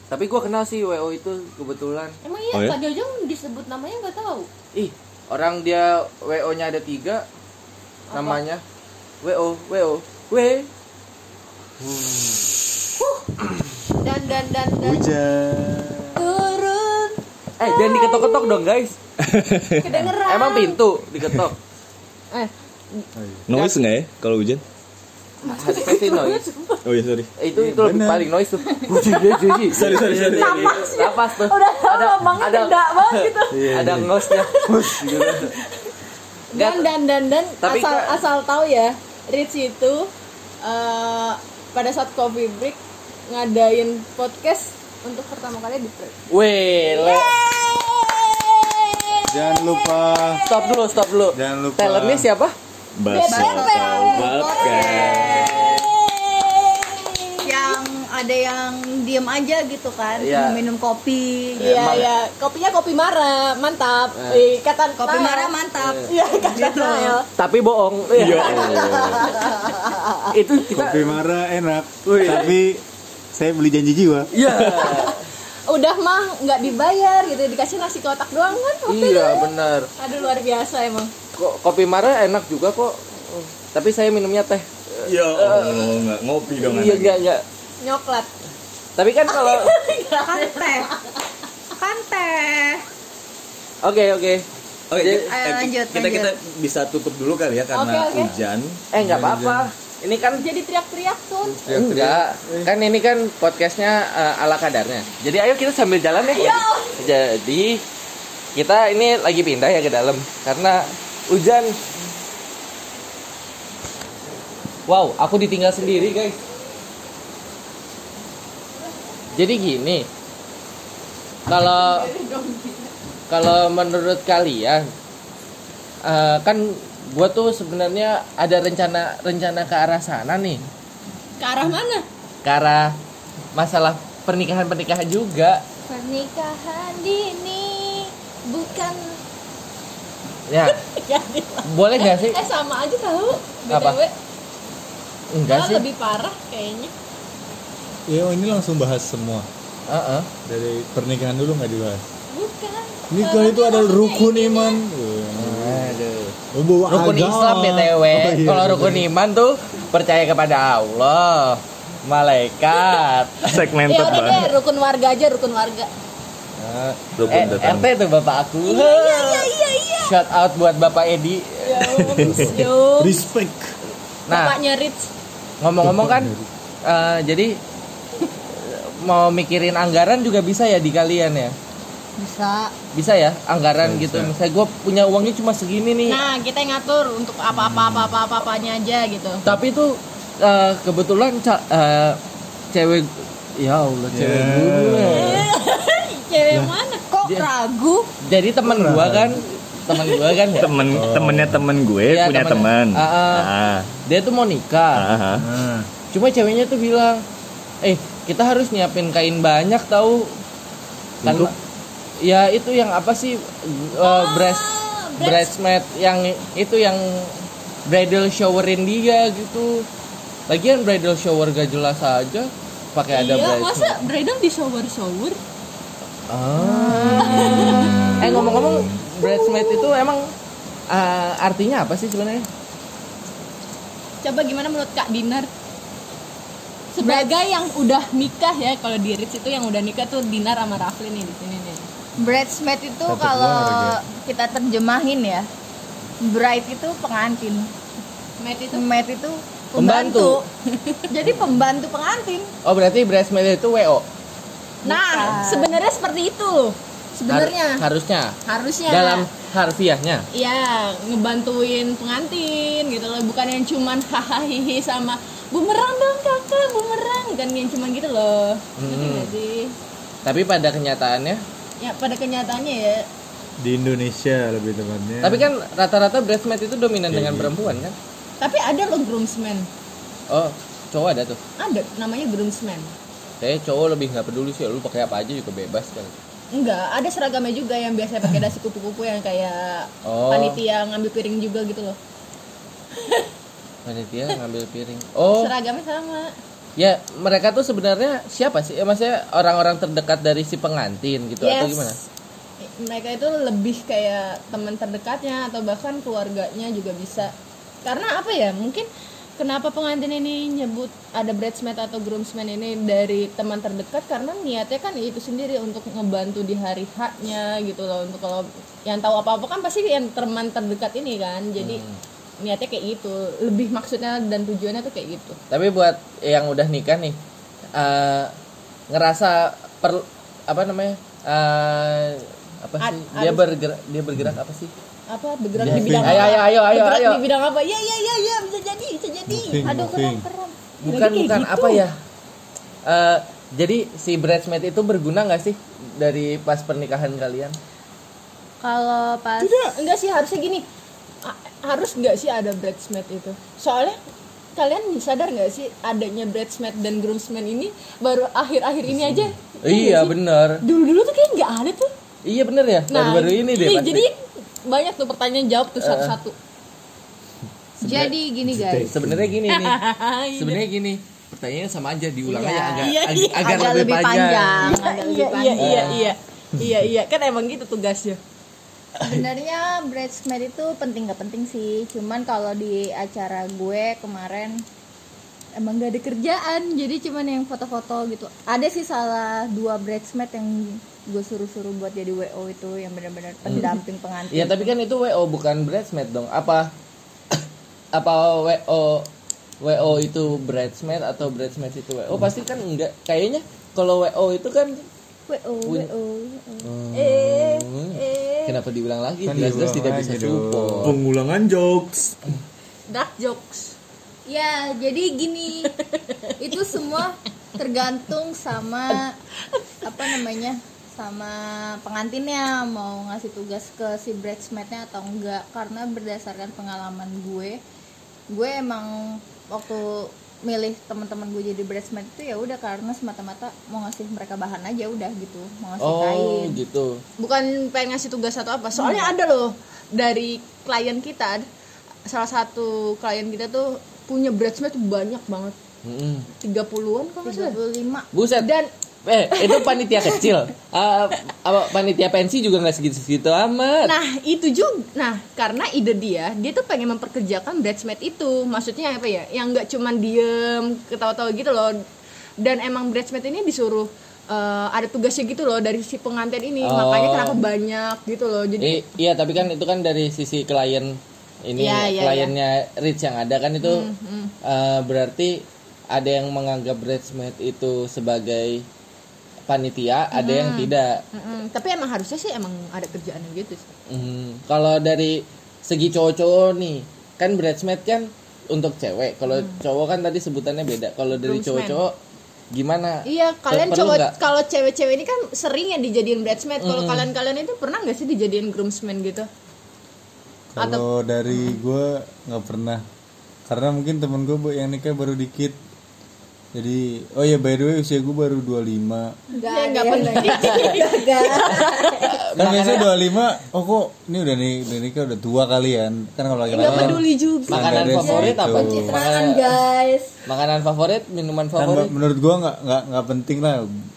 [SPEAKER 5] Tapi gua kenal sih WO itu kebetulan.
[SPEAKER 6] Emang
[SPEAKER 1] Oh, ya?
[SPEAKER 6] iya tadi aja disebut namanya nggak tahu.
[SPEAKER 5] Ih, orang dia WO-nya ada tiga namanya WO, WO, W. Eh,
[SPEAKER 6] Dan dan dan dan
[SPEAKER 2] Hujan.
[SPEAKER 6] turun
[SPEAKER 5] Eh, jangan diketok-ketok dong, guys.
[SPEAKER 6] kedengeran.
[SPEAKER 5] Emang pintu diketok.
[SPEAKER 6] Eh,
[SPEAKER 1] Noise enggak ya kalau hujan?
[SPEAKER 5] Harusnya sih noise.
[SPEAKER 1] Oh iya sorry.
[SPEAKER 5] Eh, Itu itu lebih
[SPEAKER 2] bener.
[SPEAKER 5] paling noise tuh. Sorry, sorry, sorry. Lapas tuh.
[SPEAKER 6] ya. udah tahu
[SPEAKER 5] Ada-
[SPEAKER 6] lambangnya
[SPEAKER 5] ada-
[SPEAKER 6] beda banget gitu.
[SPEAKER 5] Ada ngosnya.
[SPEAKER 6] Dan dan dan dan
[SPEAKER 5] Tapi
[SPEAKER 6] asal
[SPEAKER 5] kan-
[SPEAKER 6] asal tahu ya, Rich itu eh, pada saat coffee break ngadain podcast untuk pertama kali di Perth.
[SPEAKER 5] Weh, le-
[SPEAKER 2] Jangan lupa
[SPEAKER 5] stop dulu, stop dulu.
[SPEAKER 2] Jangan lupa.
[SPEAKER 5] Talentnya siapa?
[SPEAKER 7] yang ada yang diem aja gitu kan
[SPEAKER 5] Iya.
[SPEAKER 7] cuma minum kopi
[SPEAKER 6] Iya
[SPEAKER 3] Ya,
[SPEAKER 5] Emang-
[SPEAKER 6] iya, kopinya kopi Mara, mantap. Eh, kata
[SPEAKER 7] kopi
[SPEAKER 6] Nael.
[SPEAKER 7] marah mantap
[SPEAKER 6] Iya kata Nael.
[SPEAKER 5] Tapi bohong. itu kita. Oh,
[SPEAKER 2] kopi marah enak, tapi saya beli janji jiwa.
[SPEAKER 5] Iya.
[SPEAKER 6] Udah mah nggak dibayar gitu, dikasih nasi kotak doang kan?
[SPEAKER 5] iya benar.
[SPEAKER 6] Aduh luar biasa emang.
[SPEAKER 5] Kok kopi mara enak juga kok. Tapi saya minumnya teh.
[SPEAKER 1] Ya Allah, enggak ngopi dong.
[SPEAKER 5] Iya enggak enggak.
[SPEAKER 6] Nyoklat.
[SPEAKER 5] Tapi kan kalau
[SPEAKER 4] kan teh kan teh
[SPEAKER 5] Oke oke.
[SPEAKER 1] Oke,
[SPEAKER 5] Jadi-
[SPEAKER 1] eh,
[SPEAKER 4] Ayo, lanjut,
[SPEAKER 1] kita kita bisa tutup dulu kali ya karena
[SPEAKER 3] Oke, oke.
[SPEAKER 1] hujan.
[SPEAKER 5] Eh nggak apa-apa. Ini kan
[SPEAKER 3] Jadi teriak-teriak tuh.
[SPEAKER 5] enggak. Kan ini kan podcastnya eh, ala kadarnya. Jadi ayo kita sambil jalan ya. Jadi kita ini lagi pindah ya ke dalam karena hujan. Wow, aku ditinggal sendiri guys. Jadi gini, kalau kalau menurut kalian eh, kan gue tuh sebenarnya ada rencana rencana ke arah sana nih
[SPEAKER 3] Ke arah mana?
[SPEAKER 5] ke arah masalah pernikahan pernikahan juga
[SPEAKER 6] Pernikahan dini bukan
[SPEAKER 5] ya
[SPEAKER 2] Iya,
[SPEAKER 5] boleh nggak sih
[SPEAKER 3] Eh sama aja tahu.
[SPEAKER 5] Apa?
[SPEAKER 3] BTW.
[SPEAKER 5] enggak
[SPEAKER 3] Malah
[SPEAKER 5] sih
[SPEAKER 3] lebih parah kayaknya.
[SPEAKER 2] Ya ini langsung bahas semua
[SPEAKER 5] Heeh.
[SPEAKER 2] dari pernikahan dulu nggak dibahas.
[SPEAKER 3] Bukan.
[SPEAKER 2] Nikah itu ada rukun iman.
[SPEAKER 5] Aduh.
[SPEAKER 2] Eh, bawa
[SPEAKER 5] rukun
[SPEAKER 2] agama.
[SPEAKER 5] Islam btw
[SPEAKER 2] Oh, iya,
[SPEAKER 5] kalau
[SPEAKER 2] bener.
[SPEAKER 5] rukun iman tuh percaya kepada Allah malaikat
[SPEAKER 3] Ya
[SPEAKER 1] Segmented
[SPEAKER 3] udah deh,
[SPEAKER 1] banget.
[SPEAKER 3] rukun warga aja, rukun warga.
[SPEAKER 5] Eh,
[SPEAKER 1] Rukun
[SPEAKER 5] eh,
[SPEAKER 1] tetangga.
[SPEAKER 5] RT tuh bapak aku
[SPEAKER 2] Iya,
[SPEAKER 3] Ah, iya,
[SPEAKER 5] shout out buat bapak Edi
[SPEAKER 3] Ya ampun, Yo.
[SPEAKER 2] Respect.
[SPEAKER 5] nah
[SPEAKER 3] Bapaknya Rich.
[SPEAKER 5] ngomong-ngomong kan eh, jadi mau mikirin anggaran juga bisa ya di kalian ya
[SPEAKER 6] bisa
[SPEAKER 5] bisa ya anggaran gitu misalnya gue punya uangnya cuma segini nih
[SPEAKER 3] Nah, kita yang ngatur untuk apa-apa apa-apa apanya aja gitu.
[SPEAKER 5] tapi itu eh, kebetulan ca- eh, cewek ya allah cewek ya. gue
[SPEAKER 3] Cewek
[SPEAKER 5] Nah,
[SPEAKER 3] mana?
[SPEAKER 6] kok
[SPEAKER 5] Dia-
[SPEAKER 6] ragu
[SPEAKER 5] jadi teman gue kan teman gue kan ya,
[SPEAKER 1] Temen temennya temen gue
[SPEAKER 5] Iya,
[SPEAKER 1] punya Ah, teman.
[SPEAKER 5] temennya. Ah, ah. dia tuh mau nikah
[SPEAKER 2] Nah,
[SPEAKER 5] cuma ceweknya tuh bilang eh kita harus nyiapin kain banyak tahu kan
[SPEAKER 2] Untuk?
[SPEAKER 5] ya itu yang apa sih eh, breast bridesmaid yang itu yang bridal showerin dia gitu lagian bridal shower gak jelas aja pakai
[SPEAKER 3] Iya,
[SPEAKER 5] ada bridesmaid
[SPEAKER 3] masa bridal di shower-shower?
[SPEAKER 5] Ah. eh ngomong-ngomong bridesmaid itu emang eh, artinya apa sih sebenarnya
[SPEAKER 3] Coba gimana menurut Kak Dinar? Sebagai yang udah nikah ya, kalau di Rich itu yang udah nikah tuh Dinar sama Rafli nih di sini nih.
[SPEAKER 4] bridesmaid itu
[SPEAKER 2] Tetep
[SPEAKER 4] kalau
[SPEAKER 2] warga.
[SPEAKER 4] kita terjemahin ya bride itu pengantin
[SPEAKER 3] Matt itu
[SPEAKER 4] maid itu pembantu,
[SPEAKER 5] Pembantu.
[SPEAKER 4] jadi pembantu pengantin
[SPEAKER 5] oh berarti bridesmaid itu wo
[SPEAKER 3] Nah, sebenarnya seperti itu.
[SPEAKER 5] Har-
[SPEAKER 3] Sebenarnya Iya.
[SPEAKER 5] harusnya
[SPEAKER 3] harusnya
[SPEAKER 5] dalam harfiahnya
[SPEAKER 3] Iya, ngebantuin pengantin gitu loh, bukan yang cuman hahaha hihi sama bumerang dong kakak, bumerang kan yang cuman gitu loh. Ngerti nggak sih?
[SPEAKER 5] tapi pada kenyataannya
[SPEAKER 3] Ya pada kenyataannya ya,
[SPEAKER 2] di Indonesia lebih tepatnya.
[SPEAKER 5] tapi kan rata-rata bridesmaid itu dominan dengan perempuan kan
[SPEAKER 3] tapi ada loh groomsman,
[SPEAKER 5] oh cowok ada tuh
[SPEAKER 3] ada namanya groomsman.
[SPEAKER 5] saya cowok lebih nggak peduli sih lu pakai apa aja juga bebas kan
[SPEAKER 3] Enggak, ada seragamnya juga yang biasa pakai dasi kupu-kupu yang kayak
[SPEAKER 5] Oh.
[SPEAKER 3] panitia ngambil piring juga gitu loh.
[SPEAKER 5] panitia ngambil piring oh
[SPEAKER 3] Seragamnya sama.
[SPEAKER 5] ya mereka tuh sebenarnya siapa sih ya, maksudnya orang-orang terdekat dari si pengantin gitu atau
[SPEAKER 3] Yes.
[SPEAKER 5] gimana
[SPEAKER 3] Mereka itu lebih kayak teman terdekatnya atau bahkan keluarganya juga bisa. Karena apa ya? Mungkin kenapa pengantin ini nyebut ada bridesmaid atau groomsman ini dari teman terdekat karena niatnya kan itu sendiri untuk ngebantu di hari haknya gitu loh. Untuk kalau yang tahu apa-apa kan pasti yang teman terdekat ini kan. Jadi
[SPEAKER 5] Hmm.
[SPEAKER 3] niatnya kayak gitu. Lebih maksudnya dan tujuannya tuh kayak gitu.
[SPEAKER 5] Tapi buat yang udah nikah nih, eh, ngerasa per apa namanya? eh, apa
[SPEAKER 3] Ad-
[SPEAKER 5] sih? Dia bergerak dia bergerak apa sih?
[SPEAKER 3] Apa bergerak di
[SPEAKER 6] Iya,
[SPEAKER 2] Moving.
[SPEAKER 3] bidang
[SPEAKER 5] Ayo ayo ayo ayo
[SPEAKER 3] bergerak
[SPEAKER 5] ayo.
[SPEAKER 3] di bidang apa? Iya iya iya iya bisa jadi, bisa jadi.
[SPEAKER 2] Moving, moving.
[SPEAKER 5] Bukan
[SPEAKER 3] kayak
[SPEAKER 5] bukan
[SPEAKER 3] gitu.
[SPEAKER 5] apa ya? Eh, jadi si bridesmaid itu berguna nggak sih dari pas pernikahan kalian?
[SPEAKER 6] kalau
[SPEAKER 5] Kan?
[SPEAKER 6] pas
[SPEAKER 3] Tidak, enggak sih harusnya gini. A- harus nggak sih ada bridesmaid itu? Soalnya kalian sadar nggak sih adanya bridesmaid dan groomsman ini baru akhir-akhir ini aja.
[SPEAKER 5] Iya bener
[SPEAKER 3] Dulu-dulu tuh kayak nggak ada tuh.
[SPEAKER 5] Iya bener ya Baru-baru ini deh Eh.
[SPEAKER 3] iya,
[SPEAKER 5] pasti.
[SPEAKER 3] jadi banyak tuh pertanyaan jawab tuh satu-satu.
[SPEAKER 6] jadi gini guys
[SPEAKER 5] Sebenarnya gini nih Sebenarnya gini Pertanyaannya sama aja diulangnya agak,
[SPEAKER 3] Iya,
[SPEAKER 5] ag-
[SPEAKER 3] iya.
[SPEAKER 5] agar
[SPEAKER 4] agak
[SPEAKER 5] kan lebih panjang.
[SPEAKER 3] iya, iya, iya, iya. Iya, iya, kan emang gitu tugasnya.
[SPEAKER 4] sebenarnya bridesmaid itu penting gak penting sih cuman kalau di acara gue kemarin emang gak ada kerjaan jadi cuman yang foto-foto gitu ada sih salah dua bridesmaid yang gue suruh-suruh buat jadi wo itu yang benar-benar pendamping pengantin
[SPEAKER 5] Iya tapi kan itu WO bukan bridesmaid dong. Apa apa WO WO itu bridesmaid atau bridesmaid itu WO?
[SPEAKER 2] Hmm.
[SPEAKER 5] Pasti kan enggak. Kayaknya kalau WO itu kan
[SPEAKER 4] wo
[SPEAKER 5] Win-
[SPEAKER 4] wo
[SPEAKER 5] Hmm, kenapa diulang lagi?
[SPEAKER 2] Kan diulang
[SPEAKER 5] Jelas-jelas tidak
[SPEAKER 2] lagi
[SPEAKER 5] bisa
[SPEAKER 2] dong.
[SPEAKER 5] support.
[SPEAKER 1] Pengulangan jokes.
[SPEAKER 6] Dark jokes.
[SPEAKER 4] ya jadi gini itu semua tergantung sama apa namanya sama pengantinnya mau ngasih tugas ke si bridesmaidnya atau enggak karena berdasarkan pengalaman gue gue emang waktu milih teman-teman gue jadi bridesmaid itu ya udah karena semata-mata mau ngasih mereka bahan aja udah gitu mau ngasih
[SPEAKER 5] Oh
[SPEAKER 4] kain
[SPEAKER 5] gitu.
[SPEAKER 6] Bukan pengen ngasih tugas atau apa. Soalnya
[SPEAKER 3] Hmm.
[SPEAKER 6] ada loh dari klien kita ad- salah satu klien kita tuh punya bridesmaid tuh banyak banget.
[SPEAKER 5] Mm-mm.
[SPEAKER 6] 30-an kok nggak salah.
[SPEAKER 4] 35
[SPEAKER 5] Hmm. Buset.
[SPEAKER 6] Dan
[SPEAKER 5] eh itu panitia kecil. Ah, apa panitia pensi juga nggak segitu-segitu amat.
[SPEAKER 6] Nah itu juga, nah karena ide dia, dia tuh pengen memperkerjakan bridesmaid itu Maksudnya apa ya, yang nggak cuman diem, ketawa-tawa gitu loh Dan emang bridesmaid ini disuruh eh, ada tugasnya gitu loh dari si pengantin ini
[SPEAKER 5] Oh.
[SPEAKER 6] Makanya kenapa banyak gitu loh Jadi
[SPEAKER 5] I- iya tapi kan itu kan dari sisi klien ini ya,
[SPEAKER 6] Iya, iya, Hmm,
[SPEAKER 5] kliennya Rich yang ada kan itu eh, berarti ada yang menganggap bridesmaid itu sebagai panitia, ada yang
[SPEAKER 6] Hmm.
[SPEAKER 5] tidak.
[SPEAKER 6] Mm-mm, Tapi emang harusnya sih emang ada kerjaannya gitu sih
[SPEAKER 5] Hmm, kalau dari segi cowok-cowok nih, kan bridesmaid kan untuk cewek. Kalau cowok kan tadi sebutannya beda. Kalau dari
[SPEAKER 6] Hmm. Groomsman.
[SPEAKER 5] cowok-cowok gimana?
[SPEAKER 6] Iya kalian
[SPEAKER 5] Perlu
[SPEAKER 6] cowok
[SPEAKER 5] nggak?
[SPEAKER 6] kalau cewek-cewek ini kan sering ya dijadiin bridesmaid Kalau kalian-kalian itu pernah nggak sih dijadiin groomsman gitu?
[SPEAKER 2] Kalau dari gue nggak pernah, karena mungkin temen gue yang nikah baru dikit. Jadi, oh ya by the way usia gue baru 25
[SPEAKER 4] enggak
[SPEAKER 6] Ya, nggak pernah
[SPEAKER 2] Kan biasanya 25, oh kok ini udah nih udah nikah udah tua kalian Kan kalau lagi
[SPEAKER 6] Nggak peduli juga
[SPEAKER 5] Makanan
[SPEAKER 2] Nggak ada
[SPEAKER 5] favorit
[SPEAKER 2] sih
[SPEAKER 5] apa?
[SPEAKER 2] itu.
[SPEAKER 5] Makanan,
[SPEAKER 4] guys
[SPEAKER 5] makanan favorit, minuman
[SPEAKER 2] Kan
[SPEAKER 5] favorit.
[SPEAKER 2] menurut gue nggak nggak nggak penting lah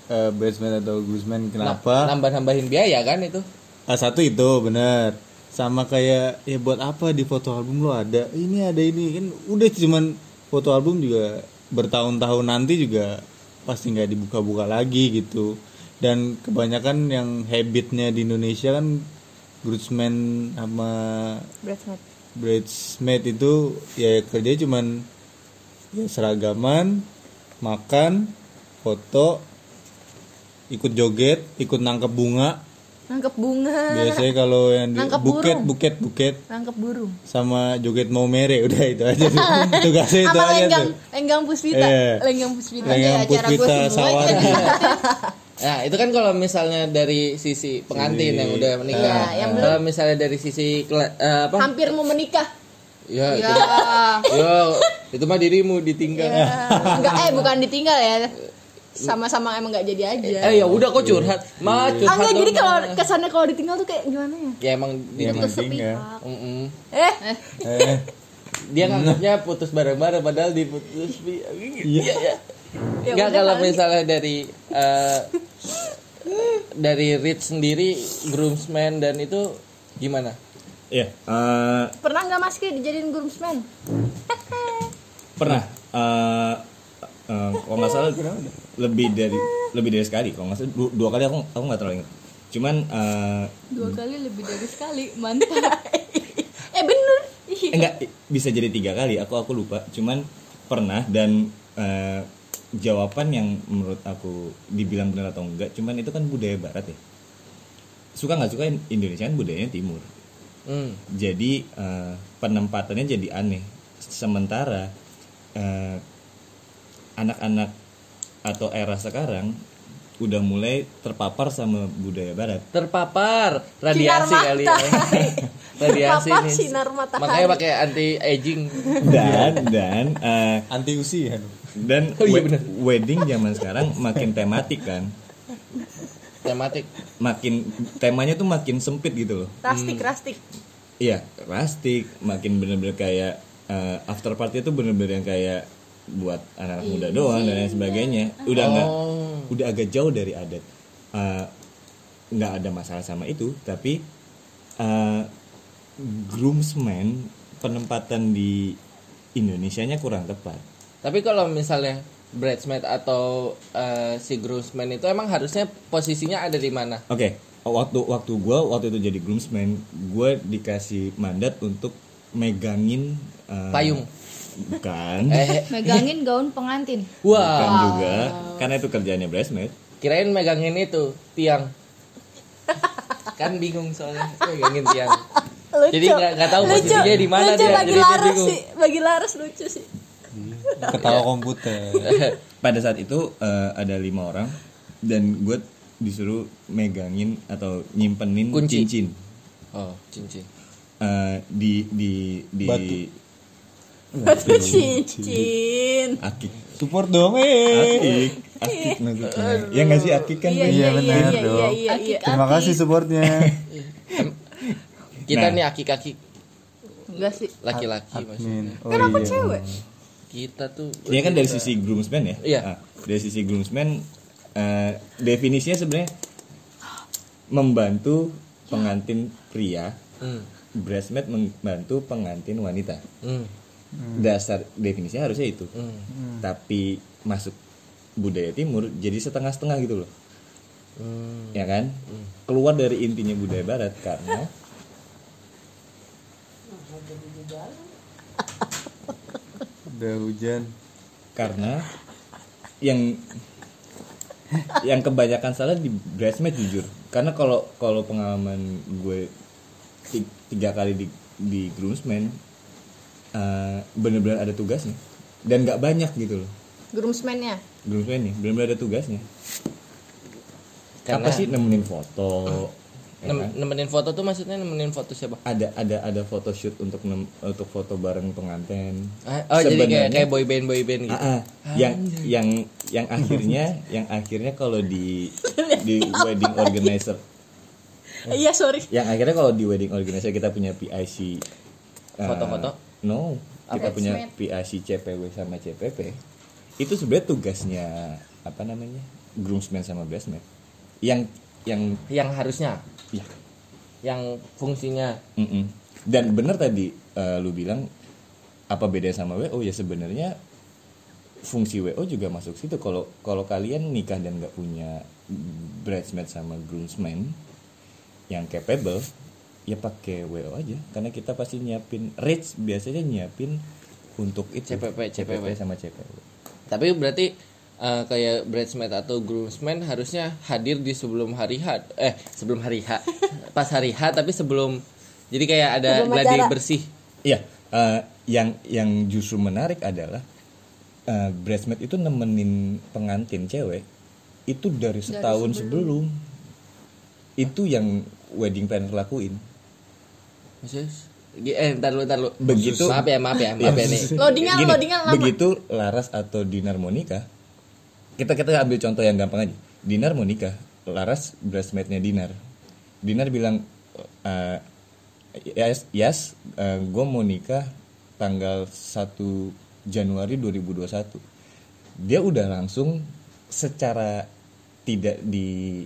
[SPEAKER 2] eh, basement atau groomsman kenapa?
[SPEAKER 5] Nambah-nambahin biaya kan itu.
[SPEAKER 2] Ah, satu itu bener sama kayak ya buat apa di foto album lo ada ini ada ini kan udah cuman foto album juga bertahun-tahun nanti juga pasti nggak dibuka-buka lagi gitu dan kebanyakan yang habitnya di Indonesia kan groomsmen sama
[SPEAKER 6] Bridesmaid
[SPEAKER 2] bridesmaid itu ya kerja cuman ya seragaman makan foto ikut joget ikut nangkep bunga
[SPEAKER 6] Nangkep bunga
[SPEAKER 2] Biasanya kalau yang di
[SPEAKER 6] Nangkep
[SPEAKER 2] buket,
[SPEAKER 6] burung.
[SPEAKER 2] buket, buket
[SPEAKER 6] Nangkep burung
[SPEAKER 2] sama joget mau mere udah itu aja tuh. Tugasnya itu
[SPEAKER 6] Apa
[SPEAKER 2] aja
[SPEAKER 6] lenggang Gitu
[SPEAKER 2] tuh.
[SPEAKER 6] lenggang puspita
[SPEAKER 2] Iya.
[SPEAKER 6] lenggang puspita
[SPEAKER 2] Lengang puspita sawar. ya.
[SPEAKER 5] Nah, itu kan kalau misalnya dari sisi pengantin yang udah menikah.
[SPEAKER 6] Nah,
[SPEAKER 5] kalau misalnya dari sisi kela- eh, apa?
[SPEAKER 6] hampir mau menikah
[SPEAKER 5] Ya, itu. Yo, itu mah dirimu ditinggal.
[SPEAKER 6] enggak eh bukan ditinggal ya sama-sama emang nggak jadi aja
[SPEAKER 5] Eh, ya udah kok curhat. Mah
[SPEAKER 6] ah
[SPEAKER 5] curhat.
[SPEAKER 6] enggak
[SPEAKER 5] dong,
[SPEAKER 6] jadi kalau
[SPEAKER 5] Ma.
[SPEAKER 6] kesannya kalau ditinggal tuh kayak gimana ya
[SPEAKER 5] ya emang
[SPEAKER 2] Ya,
[SPEAKER 5] ditinggal.
[SPEAKER 2] mending ya.
[SPEAKER 5] Mm-mm.
[SPEAKER 6] eh Nah.
[SPEAKER 2] Eh,
[SPEAKER 5] Dia nganggapnya putus bareng-bareng padahal diputus. Iya, ya.
[SPEAKER 6] Ya
[SPEAKER 5] Enggak
[SPEAKER 6] udah
[SPEAKER 5] kalau
[SPEAKER 6] kali.
[SPEAKER 5] misalnya dari eh, dari Rich sendiri groomsman dan itu gimana?
[SPEAKER 1] Iya. eh,
[SPEAKER 6] pernah nggak mas Ki dijadiin groomsman
[SPEAKER 1] pernah. eh eh, kalau nggak salah lebih dari lebih dari sekali. Kalau nggak salah du- dua, kali aku aku nggak terlalu ingat. Cuman eh,
[SPEAKER 4] dua kali lebih dari sekali mantap
[SPEAKER 6] eh bener
[SPEAKER 1] eh, enggak i- bisa jadi tiga kali. Aku aku lupa. Cuman pernah dan eh, jawaban yang menurut aku dibilang benar atau enggak. Cuman itu kan budaya Barat ya. Suka nggak suka Indonesia kan budayanya Timur.
[SPEAKER 5] Hmm.
[SPEAKER 1] jadi eh, penempatannya jadi aneh sementara eh, anak-anak atau era sekarang udah mulai terpapar sama budaya barat
[SPEAKER 5] terpapar radiasi
[SPEAKER 6] Sinar
[SPEAKER 5] kali ya. radiasi
[SPEAKER 6] Terpapar
[SPEAKER 5] nih.
[SPEAKER 6] sinar matahari.
[SPEAKER 5] Makanya pakai anti aging.
[SPEAKER 1] dan dan eh,
[SPEAKER 2] anti usia ya.
[SPEAKER 1] dan
[SPEAKER 5] Oh
[SPEAKER 1] we-
[SPEAKER 5] iya benar.
[SPEAKER 1] wedding zaman sekarang makin tematik kan
[SPEAKER 5] Tematik.
[SPEAKER 1] makin temanya tuh makin sempit gitu loh
[SPEAKER 5] Hmm.
[SPEAKER 6] rastik rastik
[SPEAKER 1] Iya, plastik makin bener-bener kayak eh, after party itu bener-bener yang kayak buat anak muda doang dan lain sebagainya. Udah nggak,
[SPEAKER 5] Oh.
[SPEAKER 1] udah agak jauh dari adat. Eh, Nggak ada masalah sama itu, tapi eh, groomsmen penempatan di Indonesianya kurang tepat.
[SPEAKER 5] Tapi kalau misalnya bridesmaid atau eh, si groomsman itu emang harusnya posisinya ada di mana?
[SPEAKER 1] Oke, waktu waktu gue waktu itu jadi groomsman, gue dikasih mandat untuk megangin eh,
[SPEAKER 5] Payung.
[SPEAKER 1] bukan,
[SPEAKER 5] Eh,
[SPEAKER 4] Megangin gaun pengantin.
[SPEAKER 1] bukan
[SPEAKER 5] wah,
[SPEAKER 1] juga, karena itu kerjanya bridesmaid.
[SPEAKER 5] kirain megangin itu tiang. kan bingung soalnya megangin tiang.
[SPEAKER 7] Lucu.
[SPEAKER 5] Jadi nggak nggak tahu posisinya di mana
[SPEAKER 7] lucu
[SPEAKER 5] dia, jadi
[SPEAKER 7] bagi
[SPEAKER 5] dia
[SPEAKER 7] Laras
[SPEAKER 5] bingung.
[SPEAKER 7] sih bagi Laras lucu sih
[SPEAKER 2] Ketawa komputer.
[SPEAKER 1] Pada saat itu eh, ada lima orang dan gue disuruh megangin atau nyimpenin
[SPEAKER 5] Kunci.
[SPEAKER 1] cincin
[SPEAKER 5] Oh, cincin.
[SPEAKER 1] eh, di di di
[SPEAKER 2] Batu.
[SPEAKER 7] batu
[SPEAKER 2] Iya,
[SPEAKER 7] cincin
[SPEAKER 1] akik
[SPEAKER 2] Support dong, eh.
[SPEAKER 1] akik akik maksudnya. ya nggak sih akik kan
[SPEAKER 7] iya
[SPEAKER 1] Ben?
[SPEAKER 7] iya
[SPEAKER 2] Iya,
[SPEAKER 7] iya
[SPEAKER 2] benar
[SPEAKER 7] iya
[SPEAKER 2] dong.
[SPEAKER 7] iya iya iya
[SPEAKER 2] Terima kasih supportnya.
[SPEAKER 5] Kita
[SPEAKER 1] Nah.
[SPEAKER 5] nih aki-aki
[SPEAKER 3] Enggak sih.
[SPEAKER 5] laki-laki maksudnya.
[SPEAKER 2] Min.
[SPEAKER 6] Kan
[SPEAKER 2] Oh, Kenapa iya. cewek?
[SPEAKER 5] Kita tuh
[SPEAKER 1] Ini kan dari sisi groomsman ya?
[SPEAKER 5] Iya.
[SPEAKER 1] Ah, dari sisi groomsman eh, definisinya sebenarnya membantu pengantin pria,
[SPEAKER 5] Hmm.
[SPEAKER 1] bridesmaid membantu pengantin wanita.
[SPEAKER 5] Hmm.
[SPEAKER 1] Dasar definisinya harusnya itu. Tapi masuk budaya timur jadi setengah-setengah gitu loh. Ya kan? Keluar dari intinya budaya barat karena
[SPEAKER 2] Udah hujan.
[SPEAKER 1] karena yang yang kebanyakan salah di bridesmaid jujur karena kalau kalau pengalaman gue ti- tiga kali di di groomsman eh, bener-bener ada tugasnya dan nggak banyak gitu loh
[SPEAKER 6] groomsman-nya.
[SPEAKER 1] groomsman nih bener-bener ada tugasnya
[SPEAKER 5] Karena
[SPEAKER 1] apa sih nemenin foto ya kan?
[SPEAKER 5] nem- nemenin foto tuh maksudnya nemenin foto siapa?
[SPEAKER 1] ada ada ada photoshoot untuk nem- untuk foto bareng penganten
[SPEAKER 5] Ah, Oh, jadi kayak
[SPEAKER 1] Sebenarnya-
[SPEAKER 5] kayak boy band boy band gitu.
[SPEAKER 1] Ah, ah. yang yang yang akhirnya yang akhirnya kalau di di wedding organizer
[SPEAKER 7] iya sorry
[SPEAKER 1] yang akhirnya kalau di wedding organizer kita punya PIC eh,
[SPEAKER 5] Foto-foto?
[SPEAKER 1] no kita punya PIC CPW sama CPP itu sebenarnya tugasnya apa namanya groomsman sama bridesmaid yang yang
[SPEAKER 5] Yang harusnya,
[SPEAKER 1] ya,
[SPEAKER 5] yang fungsinya.
[SPEAKER 1] mm-mm. dan bener tadi eh, lu bilang apa bedanya sama WO ya sebenarnya fungsi WO juga masuk situ kalau kalau kalian nikah dan nggak punya bridesmaid sama groomsman yang capable ya pakai WO aja karena kita pasti nyiapin rates biasanya nyiapin untuk itu
[SPEAKER 5] CPP,
[SPEAKER 1] sama CPW
[SPEAKER 5] Tapi berarti eh, kayak bridesmaid atau groomsman harusnya hadir di sebelum hari H. Eh, sebelum hari H. Pas hari H tapi sebelum jadi kayak ada
[SPEAKER 7] Sebelum
[SPEAKER 5] gladi
[SPEAKER 7] acara.
[SPEAKER 5] bersih.
[SPEAKER 1] iya eh, yang yang justru menarik adalah eh, bridesmaid itu nemenin pengantin cewek itu dari setahun sebelum. itu yang wedding planner lakuin
[SPEAKER 5] Maksudnya eh ntar lu ntar lu.
[SPEAKER 1] Begitu- Iya.
[SPEAKER 5] Maaf ya, maaf ya, maaf ya nih.
[SPEAKER 6] Loadingan,
[SPEAKER 1] Gini,
[SPEAKER 6] loadingan lama.
[SPEAKER 1] begitu Laras atau Dinar mau nikah, kita kita ambil contoh yang gampang aja. Dinar mau nikah, Laras bridesmaidnya Dinar. Dinar bilang, "Eh, yes, yes gue mau nikah tanggal 1 Januari 2021. Dia udah langsung secara tidak di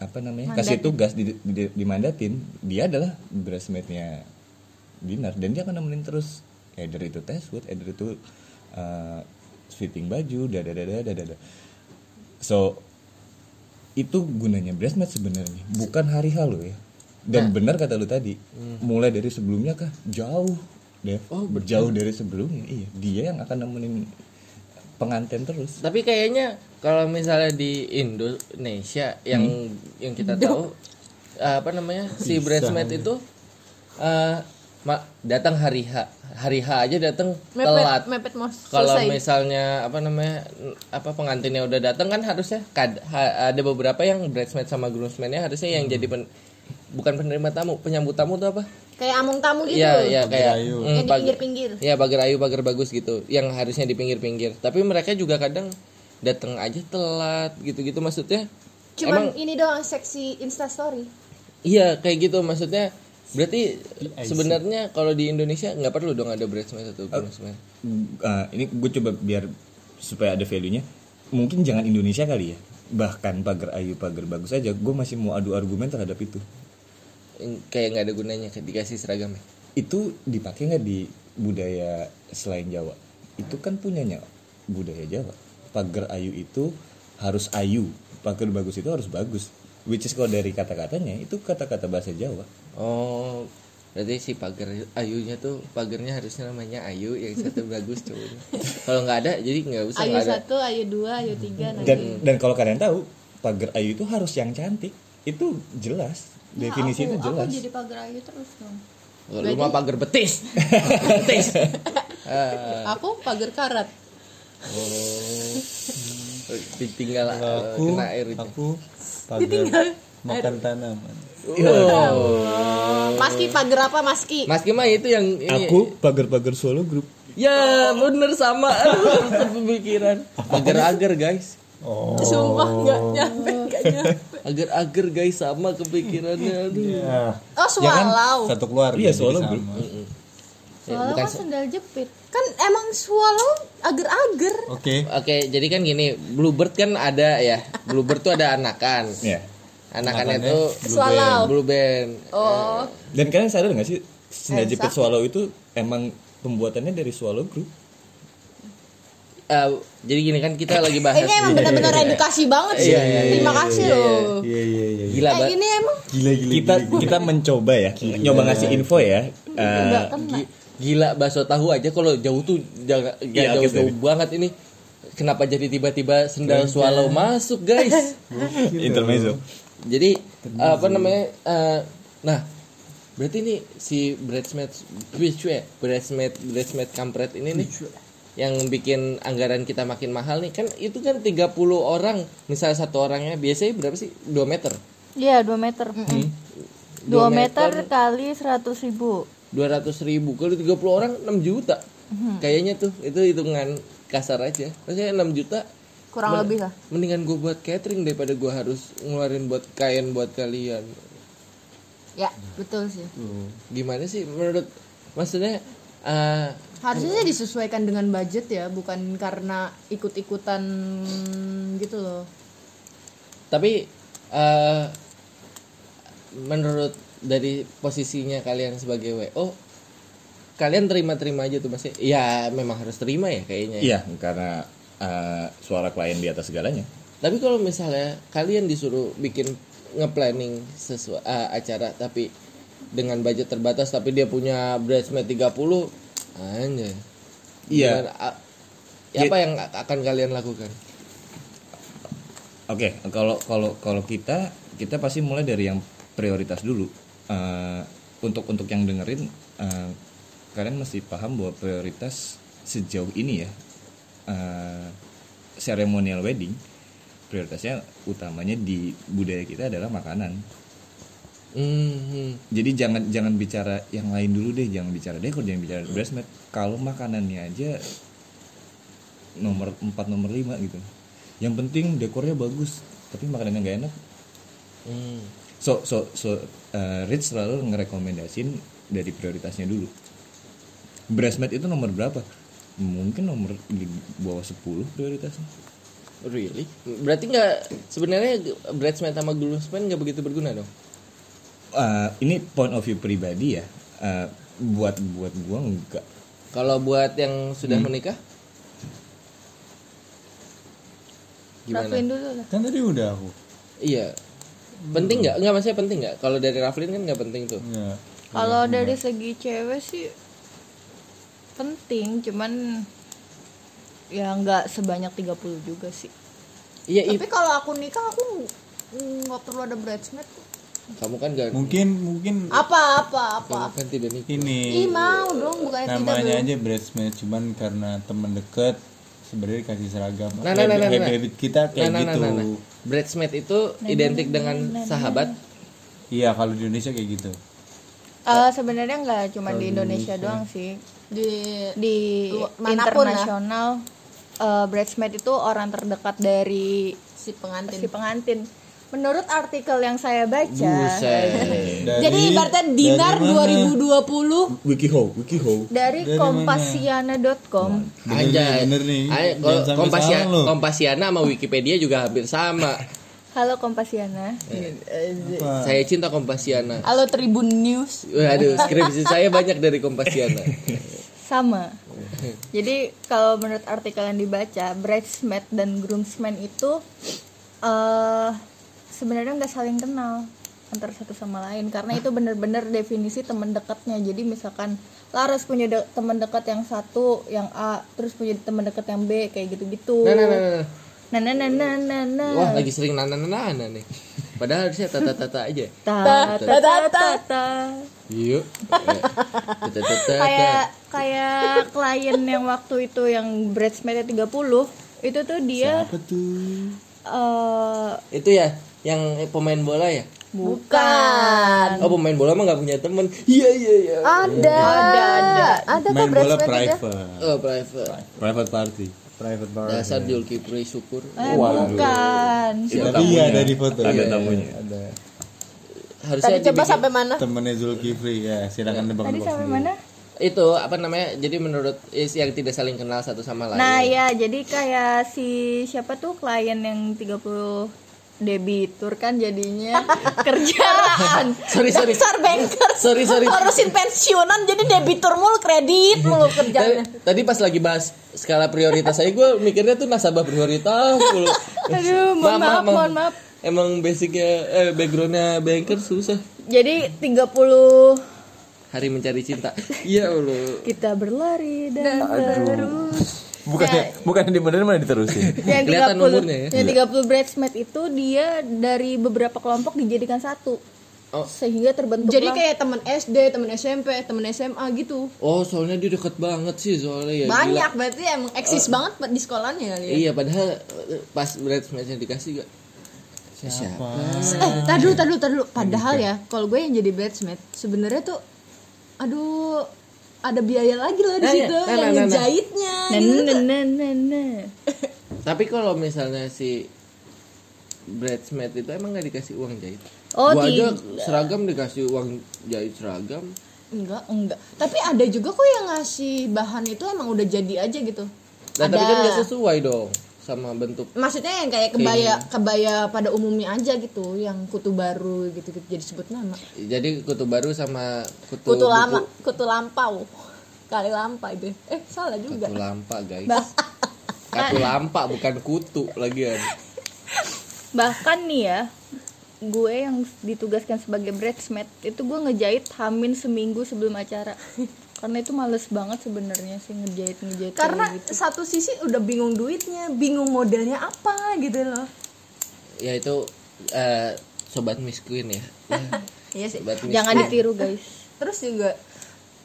[SPEAKER 1] apa namanya kasih tugas di, di- dimandatin dia adalah bridesmaidnya dinar dan dia akan nemenin terus either itu tes food either itu uh, fitting baju dada dada dada dada so itu gunanya bridesmaid sebenarnya bukan hari hal loh ya dan benar kata lu tadi mulai dari sebelumnya kah jauh Dev jauh dari sebelumnya iya dia yang akan nemenin pengantin terus
[SPEAKER 5] Tapi kayaknya kalau misalnya di Indonesia yang yang kita tahu eh, apa namanya si bridesmaid itu eh, ma- datang hari H hari H aja datang telat.
[SPEAKER 6] Mepet mos.
[SPEAKER 5] Kalau
[SPEAKER 6] Selesai.
[SPEAKER 5] misalnya apa namanya n- apa pengantinnya udah datang kan harusnya kad- ha- ada beberapa yang bridesmaid sama groomsmennya harusnya yang jadi pen- bukan penerima tamu penyambut tamu tuh apa?
[SPEAKER 6] Kayak among tamu gitu.
[SPEAKER 5] Iya iya kayak
[SPEAKER 2] Bagirayu.
[SPEAKER 5] mm,
[SPEAKER 6] Yang di
[SPEAKER 5] bag-
[SPEAKER 6] pinggir-pinggir.
[SPEAKER 5] Iya pagar ayu pagar bagus gitu yang harusnya di pinggir-pinggir tapi mereka juga kadang datang aja telat gitu-gitu maksudnya emang
[SPEAKER 6] Cuman ini doang seksi Insta story.
[SPEAKER 5] iya kayak gitu maksudnya berarti sebenarnya kalau di Indonesia nggak perlu dong ada bridesmaid atau groomsman
[SPEAKER 1] Uh, ini gue coba biar supaya ada value-nya mungkin jangan Indonesia kali ya bahkan pagar ayu pagar bagus aja gue masih mau adu argumen terhadap itu
[SPEAKER 5] Yang kayak nggak ada gunanya kayak dikasih seragam ya
[SPEAKER 1] itu dipakai nggak di budaya selain Jawa itu kan punyanya budaya Jawa pagar ayu itu harus ayu pagar bagus itu harus bagus which is kalau dari kata-katanya itu kata-kata bahasa Jawa
[SPEAKER 5] Oh, berarti si pagar ayunya tuh pagarnya harusnya namanya Ayu yang satu bagus cowoknya. Kalau nggak ada jadi nggak usah
[SPEAKER 6] ayu
[SPEAKER 5] nggak ada.
[SPEAKER 6] satu ayu dua ayu tiga nanti
[SPEAKER 1] dan dan kalau kalian tahu pagar ayu itu harus yang cantik itu jelas definisi itu jelas
[SPEAKER 4] Nah, Aku jadi pagar ayu terus dong.
[SPEAKER 5] Lu mah pagar betis. betis. Ah,
[SPEAKER 6] aku pagar karat
[SPEAKER 5] oh. Ditinggal eh,
[SPEAKER 2] aku
[SPEAKER 5] kena air hujan.
[SPEAKER 2] aku pagar makan tanaman
[SPEAKER 6] maski pagar apa maski
[SPEAKER 5] Mas Kima itu yang ini.
[SPEAKER 4] Iya.
[SPEAKER 1] aku pagar-pagar solo grup
[SPEAKER 5] Ya, bener sama. Aduh, pemikiran. Agar-agar, guys.
[SPEAKER 6] sumpah nggak nyampe nggak nyampe
[SPEAKER 5] Oh. Agar-agar, guys, sama kepikirannya. Aduh.
[SPEAKER 2] ya,
[SPEAKER 5] kan?
[SPEAKER 6] oh swallow
[SPEAKER 2] satu keluarga
[SPEAKER 1] Iya,
[SPEAKER 2] jadi
[SPEAKER 1] soalnya
[SPEAKER 2] sama.
[SPEAKER 1] grup.
[SPEAKER 5] Ya,
[SPEAKER 4] Kalau
[SPEAKER 5] bukan
[SPEAKER 4] kan sendal jepit.
[SPEAKER 6] kan emang swallow agar-agar
[SPEAKER 2] oke
[SPEAKER 5] Oke, jadi kan gini, bluebird kan ada ya. Bluebird tuh ada anakan.
[SPEAKER 1] ya
[SPEAKER 5] Iya. Anakannya tuh
[SPEAKER 6] swallow
[SPEAKER 5] blue band.
[SPEAKER 6] oh
[SPEAKER 1] dan kalian sadar nggak sih sendal jepit swallow itu emang pembuatannya dari swallow group
[SPEAKER 5] Eh, jadi gini kan kita lagi bahas.
[SPEAKER 6] ini emang benar-benar edukasi banget sih
[SPEAKER 5] Iya, iya, iya,
[SPEAKER 6] terima kasih loh
[SPEAKER 2] iya iya iya iya.
[SPEAKER 5] Gila,
[SPEAKER 6] Eh,
[SPEAKER 5] Ba.
[SPEAKER 6] ini emang
[SPEAKER 2] gila gila
[SPEAKER 1] kita kita mencoba ya nyoba ngasih info ya Eh,
[SPEAKER 6] nggak kena
[SPEAKER 5] Gi- Gila bakso tahu aja kalau jauh tuh jangan
[SPEAKER 1] Iya, oke,
[SPEAKER 5] jauh-jauh banget ini. Kenapa jadi tiba-tiba sendal swallow masuk, guys?
[SPEAKER 1] intermezzo
[SPEAKER 5] jadi apa namanya? eh, nah, berarti ini si bridesmaid bridesmaid bridesmaid bridesmaid kampret ini nih yang bikin anggaran kita makin mahal nih kan itu kan 30 orang misalnya satu orangnya biasanya berapa sih 2 meter
[SPEAKER 4] Iya, 2 meter. 2
[SPEAKER 5] Dua
[SPEAKER 4] meter kali 100 ribu.
[SPEAKER 5] 200 ribu kalau 30 orang 6 juta
[SPEAKER 4] Mm-hmm.
[SPEAKER 5] kayaknya tuh itu hitungan kasar aja maksudnya 6 juta
[SPEAKER 4] Kurang lebih lah.
[SPEAKER 5] mendingan gue buat catering daripada gue harus ngeluarin buat kain buat kalian Hmm.
[SPEAKER 4] Ya, betul sih.
[SPEAKER 5] gimana sih menurut maksudnya eh,
[SPEAKER 6] harusnya disesuaikan dengan budget ya bukan karena ikut-ikutan gitu loh
[SPEAKER 5] tapi eh, menurut dari posisinya kalian sebagai WO kalian terima-terima aja tuh masih ya memang harus terima ya kayaknya ya.
[SPEAKER 1] iya karena eh, suara klien di atas segalanya
[SPEAKER 5] Tapi kalau misalnya kalian disuruh bikin ngeplanning sesuai acara tapi dengan budget terbatas tapi dia punya bridesmaid 30 anjay.
[SPEAKER 1] Iya.
[SPEAKER 5] Gimana, a- ya apa yang a- akan kalian lakukan?
[SPEAKER 1] Oke, kalau kalau kalau kita kita pasti mulai dari yang prioritas dulu. Eh, untuk untuk yang dengerin, eh, kalian mesti paham bahwa prioritas sejauh ini ya eh, seremonial wedding prioritasnya utamanya di budaya kita adalah makanan.
[SPEAKER 5] Hmm.
[SPEAKER 1] Jadi jangan jangan bicara yang lain dulu deh, jangan bicara dekor, jangan bicara bridesmaid. Kalau makanannya aja nomor 4 nomor 5 gitu. Yang penting dekornya bagus, tapi makanannya nggak enak
[SPEAKER 5] hmm.
[SPEAKER 1] So so so uh, Rich selalu ngerekomendasin dari prioritasnya dulu. Breastmate itu nomor berapa? Mungkin nomor di bawah 10 prioritasnya.
[SPEAKER 5] Really? Berarti nggak sebenarnya bridesmaid sama groomsmen nggak begitu berguna dong?
[SPEAKER 1] Uh, ini point of view pribadi ya. Uh, buat buat gua enggak.
[SPEAKER 5] Kalau buat yang sudah menikah? Gimana?
[SPEAKER 4] Lakuin dulu lah.
[SPEAKER 2] kan tadi udah aku
[SPEAKER 5] Iya. Penting nggak? Nggak maksudnya penting nggak? Kalau dari Raflin kan nggak penting tuh.
[SPEAKER 2] ya.
[SPEAKER 4] Kalau dari segi cewek sih penting, cuman ya nggak sebanyak 30 juga sih.
[SPEAKER 5] Iya, iya.
[SPEAKER 3] tapi kalau aku nikah aku nggak perlu ada bridesmaid kok.
[SPEAKER 5] Kamu kan nggak.
[SPEAKER 2] mungkin mungkin
[SPEAKER 6] Ah,
[SPEAKER 3] apa apa apa
[SPEAKER 5] Kamu kan tidak nikah.
[SPEAKER 6] iya,
[SPEAKER 2] ini
[SPEAKER 3] mau dong bukan
[SPEAKER 2] namanya aja bridesmaid cuman karena temen deket sebenarnya kasih seragam
[SPEAKER 5] Nah, nah, nah, nah,
[SPEAKER 2] Habit-
[SPEAKER 5] nah.
[SPEAKER 2] habit kita
[SPEAKER 5] Nah,
[SPEAKER 2] kayak
[SPEAKER 5] nah, nah,
[SPEAKER 2] gitu
[SPEAKER 5] nah, nah. Bridesmaid itu
[SPEAKER 4] Nah,
[SPEAKER 5] identik dengan sahabat.
[SPEAKER 2] iya kalau di Indonesia kayak gitu
[SPEAKER 4] Eh, sebenarnya nggak cuma di Indonesia doang sih.
[SPEAKER 6] di
[SPEAKER 4] Di
[SPEAKER 6] Lu- manapun lah.
[SPEAKER 4] internasional eh, bridesmaid itu orang terdekat dari
[SPEAKER 6] si pengantin
[SPEAKER 4] si pengantin. Menurut artikel yang saya baca
[SPEAKER 5] Buset.
[SPEAKER 2] Dari-
[SPEAKER 6] jadi ibaratnya
[SPEAKER 2] dari
[SPEAKER 6] dinar
[SPEAKER 2] mana?
[SPEAKER 6] 2020
[SPEAKER 1] Wikihow, Wikihow.
[SPEAKER 4] dari kompasiana.com
[SPEAKER 5] Anjay.
[SPEAKER 2] bener nih.
[SPEAKER 5] Ay,
[SPEAKER 2] Jangan
[SPEAKER 5] kalau
[SPEAKER 2] sampai
[SPEAKER 5] Kompasia-
[SPEAKER 2] salah lu.
[SPEAKER 5] Kompasiana sama Wikipedia juga hampir sama.
[SPEAKER 4] Halo Kompasiana.
[SPEAKER 5] Saya cinta Kompasiana.
[SPEAKER 6] halo Tribun News
[SPEAKER 5] Waduh, skripsi saya banyak dari Kompasiana.
[SPEAKER 4] Sama. Jadi kalau menurut artikel yang dibaca, bridesmaid dan groomsman itu eh sebenarnya nggak saling kenal antara satu sama lain karena itu bener-bener definisi teman dekatnya. Jadi misalkan Laras punya de- teman dekat yang satu, yang A, terus punya teman dekat yang B, kayak gitu-gitu.
[SPEAKER 5] Nah, nah, nah, nah,
[SPEAKER 4] Nah, nah,
[SPEAKER 5] nah.
[SPEAKER 4] nah, nah, nah, nah.
[SPEAKER 5] Wah, lagi sering nana nana nana nih. Padahal harusnya tata tata aja.
[SPEAKER 4] Ta, ta, ta, ta, ta.
[SPEAKER 5] Yuk. Eh, Tata tata tata.
[SPEAKER 4] kayak kayak klien yang waktu itu yang bridesmaid 30 itu tuh dia
[SPEAKER 5] Apa tuh?
[SPEAKER 4] eh
[SPEAKER 5] Itu ya yang pemain bola ya?
[SPEAKER 4] bukan
[SPEAKER 5] Oh, pemain bola mah nggak punya temen Iya, iya, iya.
[SPEAKER 6] Ada. Ada ada. Ada kok
[SPEAKER 8] main bola
[SPEAKER 6] bridesmaid juga.
[SPEAKER 8] private
[SPEAKER 5] Oh, private.
[SPEAKER 8] private party
[SPEAKER 2] private bar
[SPEAKER 5] Dasar Julkipri syukur.
[SPEAKER 4] eh, bukan
[SPEAKER 8] tapi iya ada di foto
[SPEAKER 1] ada
[SPEAKER 8] iya, iya.
[SPEAKER 1] tamunya
[SPEAKER 2] ada
[SPEAKER 6] Tadi
[SPEAKER 5] Harusnya
[SPEAKER 6] coba
[SPEAKER 5] dibikin-
[SPEAKER 6] sampai mana?
[SPEAKER 8] temennya Zulkifli ya silakan nebak
[SPEAKER 4] tadi sampai
[SPEAKER 6] Iya,
[SPEAKER 4] mana
[SPEAKER 5] itu apa namanya? Jadi menurut is yang tidak saling kenal satu sama lain.
[SPEAKER 4] nah ya jadi kayak si siapa tuh klien yang 30 debitur kan jadinya kerjaan
[SPEAKER 5] Sorry, sorry.
[SPEAKER 7] Dasar banker
[SPEAKER 5] Sorry, sorry.
[SPEAKER 7] ngurusin pensiunan jadi debitur mulu kredit mulu kerjaan.
[SPEAKER 5] Tadi, tadi pas lagi bahas skala prioritas saya gue mikirnya tuh nasabah prioritas mulu.
[SPEAKER 4] aduh mohon
[SPEAKER 5] Ma- ma-
[SPEAKER 4] maaf
[SPEAKER 5] ma-
[SPEAKER 4] mohon maaf
[SPEAKER 5] Emang basicnya eh backgroundnya banker susah
[SPEAKER 4] jadi 30
[SPEAKER 5] hari mencari cinta. Iya Allah.
[SPEAKER 4] kita berlari dan terus Nah.
[SPEAKER 8] bukannya bukannya dibenerin malah diterusin Iya.
[SPEAKER 4] yang
[SPEAKER 5] Kelihatan
[SPEAKER 4] 30
[SPEAKER 5] umurnya ya.
[SPEAKER 4] yang 30 bridesmaid itu dia dari beberapa kelompok dijadikan satu
[SPEAKER 5] Oh.
[SPEAKER 4] sehingga terbentuk
[SPEAKER 6] Jadi kayak temen SD, temen SMP, temen SMA gitu.
[SPEAKER 5] Oh soalnya dia deket banget sih soalnya ya. gila.
[SPEAKER 6] Banyak berarti emang eksis banget di sekolahnya kali ya.
[SPEAKER 5] Iya padahal eh, pas bridesmaidsnya dikasih gak siapa?
[SPEAKER 8] Hmm.
[SPEAKER 6] Eh, tar dulu, tar dulu, tar dulu. Padahal ya, kalau gue yang jadi bridesmaid, sebenarnya tuh aduh ada biaya lagi lah di
[SPEAKER 5] Nah,
[SPEAKER 6] situ
[SPEAKER 5] iya. Nah,
[SPEAKER 6] yang
[SPEAKER 5] nah, nah, nah.
[SPEAKER 6] ngejahitnya.
[SPEAKER 4] nah,
[SPEAKER 6] gitu.
[SPEAKER 4] nah, nah, nah, nah.
[SPEAKER 5] Tapi kalau misalnya si bridesmaid itu emang gak dikasih uang jahit?
[SPEAKER 4] Oh,
[SPEAKER 5] Gua aja
[SPEAKER 4] tidak.
[SPEAKER 5] seragam dikasih uang jahit seragam.
[SPEAKER 6] Enggak, enggak. Tapi ada juga kok yang ngasih bahan itu emang udah jadi aja gitu.
[SPEAKER 5] Nah tapi
[SPEAKER 6] Ada.
[SPEAKER 5] kan gak sesuai dong sama bentuk
[SPEAKER 6] Maksudnya yang kayak kebaya kebaya pada umumnya aja gitu, yang kutu baru gitu, gitu. jadi sebut nama.
[SPEAKER 5] Jadi kutu baru sama kutu,
[SPEAKER 6] Kutu
[SPEAKER 5] buku.
[SPEAKER 6] lama, kutu lampau. Kali lampa itu. Eh, salah juga.
[SPEAKER 5] Kutu lampa guys. Kutu lampa bukan kutu kan. lagian.
[SPEAKER 4] bahkan nih ya gue yang ditugaskan sebagai bridesmaid itu gue ngejahit hamin seminggu sebelum acara karena itu males banget sebenarnya sih ngejahit ngejahit kayak
[SPEAKER 6] Karena
[SPEAKER 4] gitu.
[SPEAKER 6] satu sisi udah bingung duitnya, bingung modelnya apa gitu loh.
[SPEAKER 5] Ya itu eh, sobat miskin ya.
[SPEAKER 6] Iya sih.
[SPEAKER 5] Sobat miskin.
[SPEAKER 4] jangan ditiru guys
[SPEAKER 6] Terus juga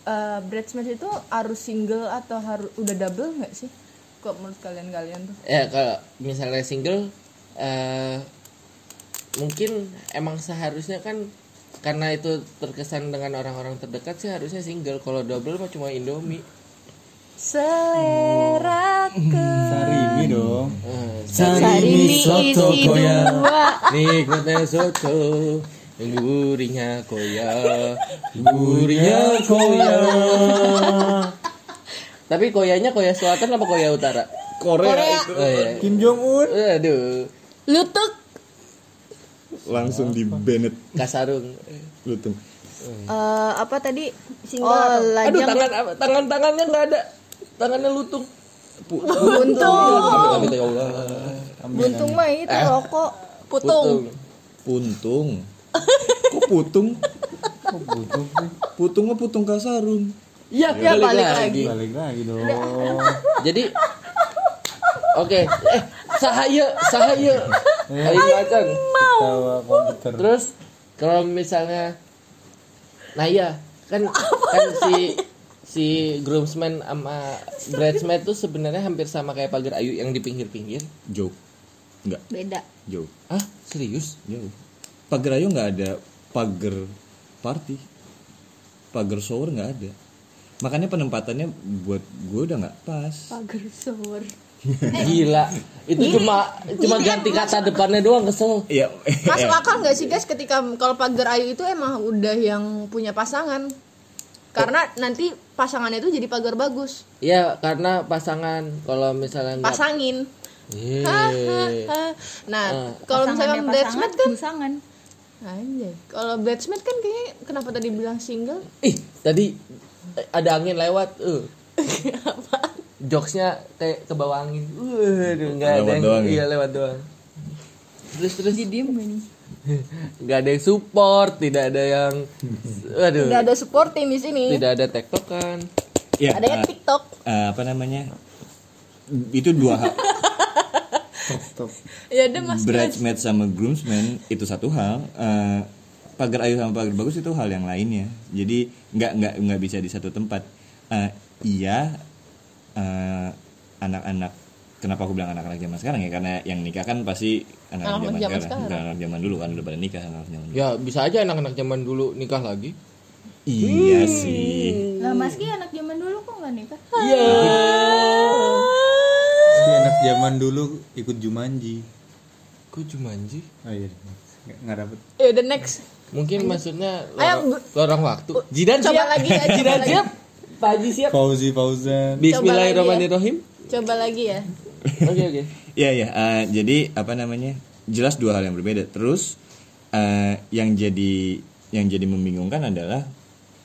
[SPEAKER 6] eh bridesmaid itu harus single atau harus udah double nggak sih? Kok menurut kalian-kalian tuh?
[SPEAKER 5] Ya kalau misalnya single eh mungkin emang seharusnya kan karena itu terkesan dengan orang-orang terdekat sih harusnya single kalau double mah cuma Indomie.
[SPEAKER 6] Selera
[SPEAKER 8] sarimi dong
[SPEAKER 5] Eh,
[SPEAKER 8] sarimi soto koya
[SPEAKER 5] Nikmatnya soto Gurinya koya Gurinya koya Tapi koyanya koya selatan apa koya utara?
[SPEAKER 1] Korea, itu
[SPEAKER 5] Oh, iya.
[SPEAKER 2] Kim Jong Un
[SPEAKER 5] Aduh
[SPEAKER 4] lutuk
[SPEAKER 1] langsung di Bennett
[SPEAKER 5] Kasarung
[SPEAKER 1] Lutung
[SPEAKER 4] Eh, apa tadi oh
[SPEAKER 5] Aduh
[SPEAKER 4] lajang
[SPEAKER 5] tangan apa- tangan-tangannya nggak ada Tangannya lutung Pu- Buntung Aduh, ya Allah Eh.
[SPEAKER 4] buntung mah itu rokok
[SPEAKER 5] Putung
[SPEAKER 1] Puntung Kok putung?
[SPEAKER 5] Oh,
[SPEAKER 1] Kok putung? Putung mah putung kasarun
[SPEAKER 5] Iya balik, lagi.
[SPEAKER 2] balik lagi dong
[SPEAKER 6] Iya,
[SPEAKER 5] Jadi Oke, eh sahaya, sahaya. Ayo makan.
[SPEAKER 2] ketawa komputer
[SPEAKER 5] Terus kalau misalnya Nah iya kan kan si si groomsman sama bridesmaid tuh sebenarnya hampir sama kayak pagar ayu yang di pinggir-pinggir.
[SPEAKER 1] Jauh Enggak
[SPEAKER 4] beda
[SPEAKER 1] Jauh
[SPEAKER 5] Ah, serius?
[SPEAKER 1] Jauh Pagar ayo nggak ada Pagar party Pagar shower nggak ada Makanya penempatannya buat gue udah nggak pas
[SPEAKER 5] Gila. Itu cuma cuma ganti kata depannya doang kesel.
[SPEAKER 1] Iya
[SPEAKER 6] Masuk akal nggak sih guys ketika kalau pagar ayu itu emang udah yang punya pasangan? Karena nanti pasangannya itu jadi pagar bagus.
[SPEAKER 5] Ya karena pasangan kalau misalnya nggak
[SPEAKER 6] Pasangin.
[SPEAKER 5] Yeay.
[SPEAKER 6] Hahaha. Nah, kalau
[SPEAKER 4] ya,
[SPEAKER 6] misalkan bridesmaid kan
[SPEAKER 4] busangan
[SPEAKER 6] Anjay. Kalau bridesmaid kan kayaknya kenapa tadi bilang single?
[SPEAKER 5] Ih, tadi eh, ada angin lewat. eh. jokesnya kayak ke bawah angin Waduh, nggak ada
[SPEAKER 1] Lewat
[SPEAKER 5] yang
[SPEAKER 1] doang ya?
[SPEAKER 5] iya lewat doang terus terus nggak ada yang support tidak ada yang aduh
[SPEAKER 4] Gak ada supporting di sini.
[SPEAKER 5] tidak ada tektokan
[SPEAKER 1] ya
[SPEAKER 4] Adanya
[SPEAKER 1] eh,
[SPEAKER 4] TikTok.
[SPEAKER 1] eh, apa namanya itu dua hal
[SPEAKER 6] ya udah mas
[SPEAKER 1] bridesmaid sama groomsmen itu satu hal Eh, pagar ayu sama pagar bagus itu hal yang lainnya jadi nggak nggak nggak bisa di satu tempat Eh, iya eh, anak-anak kenapa aku bilang anak-anak zaman sekarang ya karena yang nikah kan pasti anak-anak zaman,
[SPEAKER 6] Anak-anak zaman
[SPEAKER 1] sekarang,
[SPEAKER 6] sekarang.
[SPEAKER 1] Bukan anak zaman dulu kan udah pada nikah anak-anak zaman dulu
[SPEAKER 5] ya bisa aja anak-anak zaman dulu nikah lagi
[SPEAKER 1] iya sih
[SPEAKER 4] Lah Mas Ki anak zaman dulu kok nggak nikah?
[SPEAKER 5] Iya.
[SPEAKER 2] Si anak zaman dulu ikut Jumanji.
[SPEAKER 5] Kok Jumanji?
[SPEAKER 2] Oh iya. Nggak, nggak dapet.
[SPEAKER 6] ya udah next
[SPEAKER 5] Mungkin maksudnya lorong, lorong waktu. Jidan
[SPEAKER 6] coba
[SPEAKER 5] siap.
[SPEAKER 6] lagi ya coba
[SPEAKER 5] Jidan
[SPEAKER 6] lagi
[SPEAKER 5] siap. Pak Haji siap.
[SPEAKER 2] Fauzi Fauzan.
[SPEAKER 5] Bismillahirrahmanirrahim.
[SPEAKER 6] coba lagi ya
[SPEAKER 5] Oke oke.
[SPEAKER 1] Iya ya, jadi apa namanya? Jelas dua hal yang berbeda. Terus eh, yang jadi yang jadi membingungkan adalah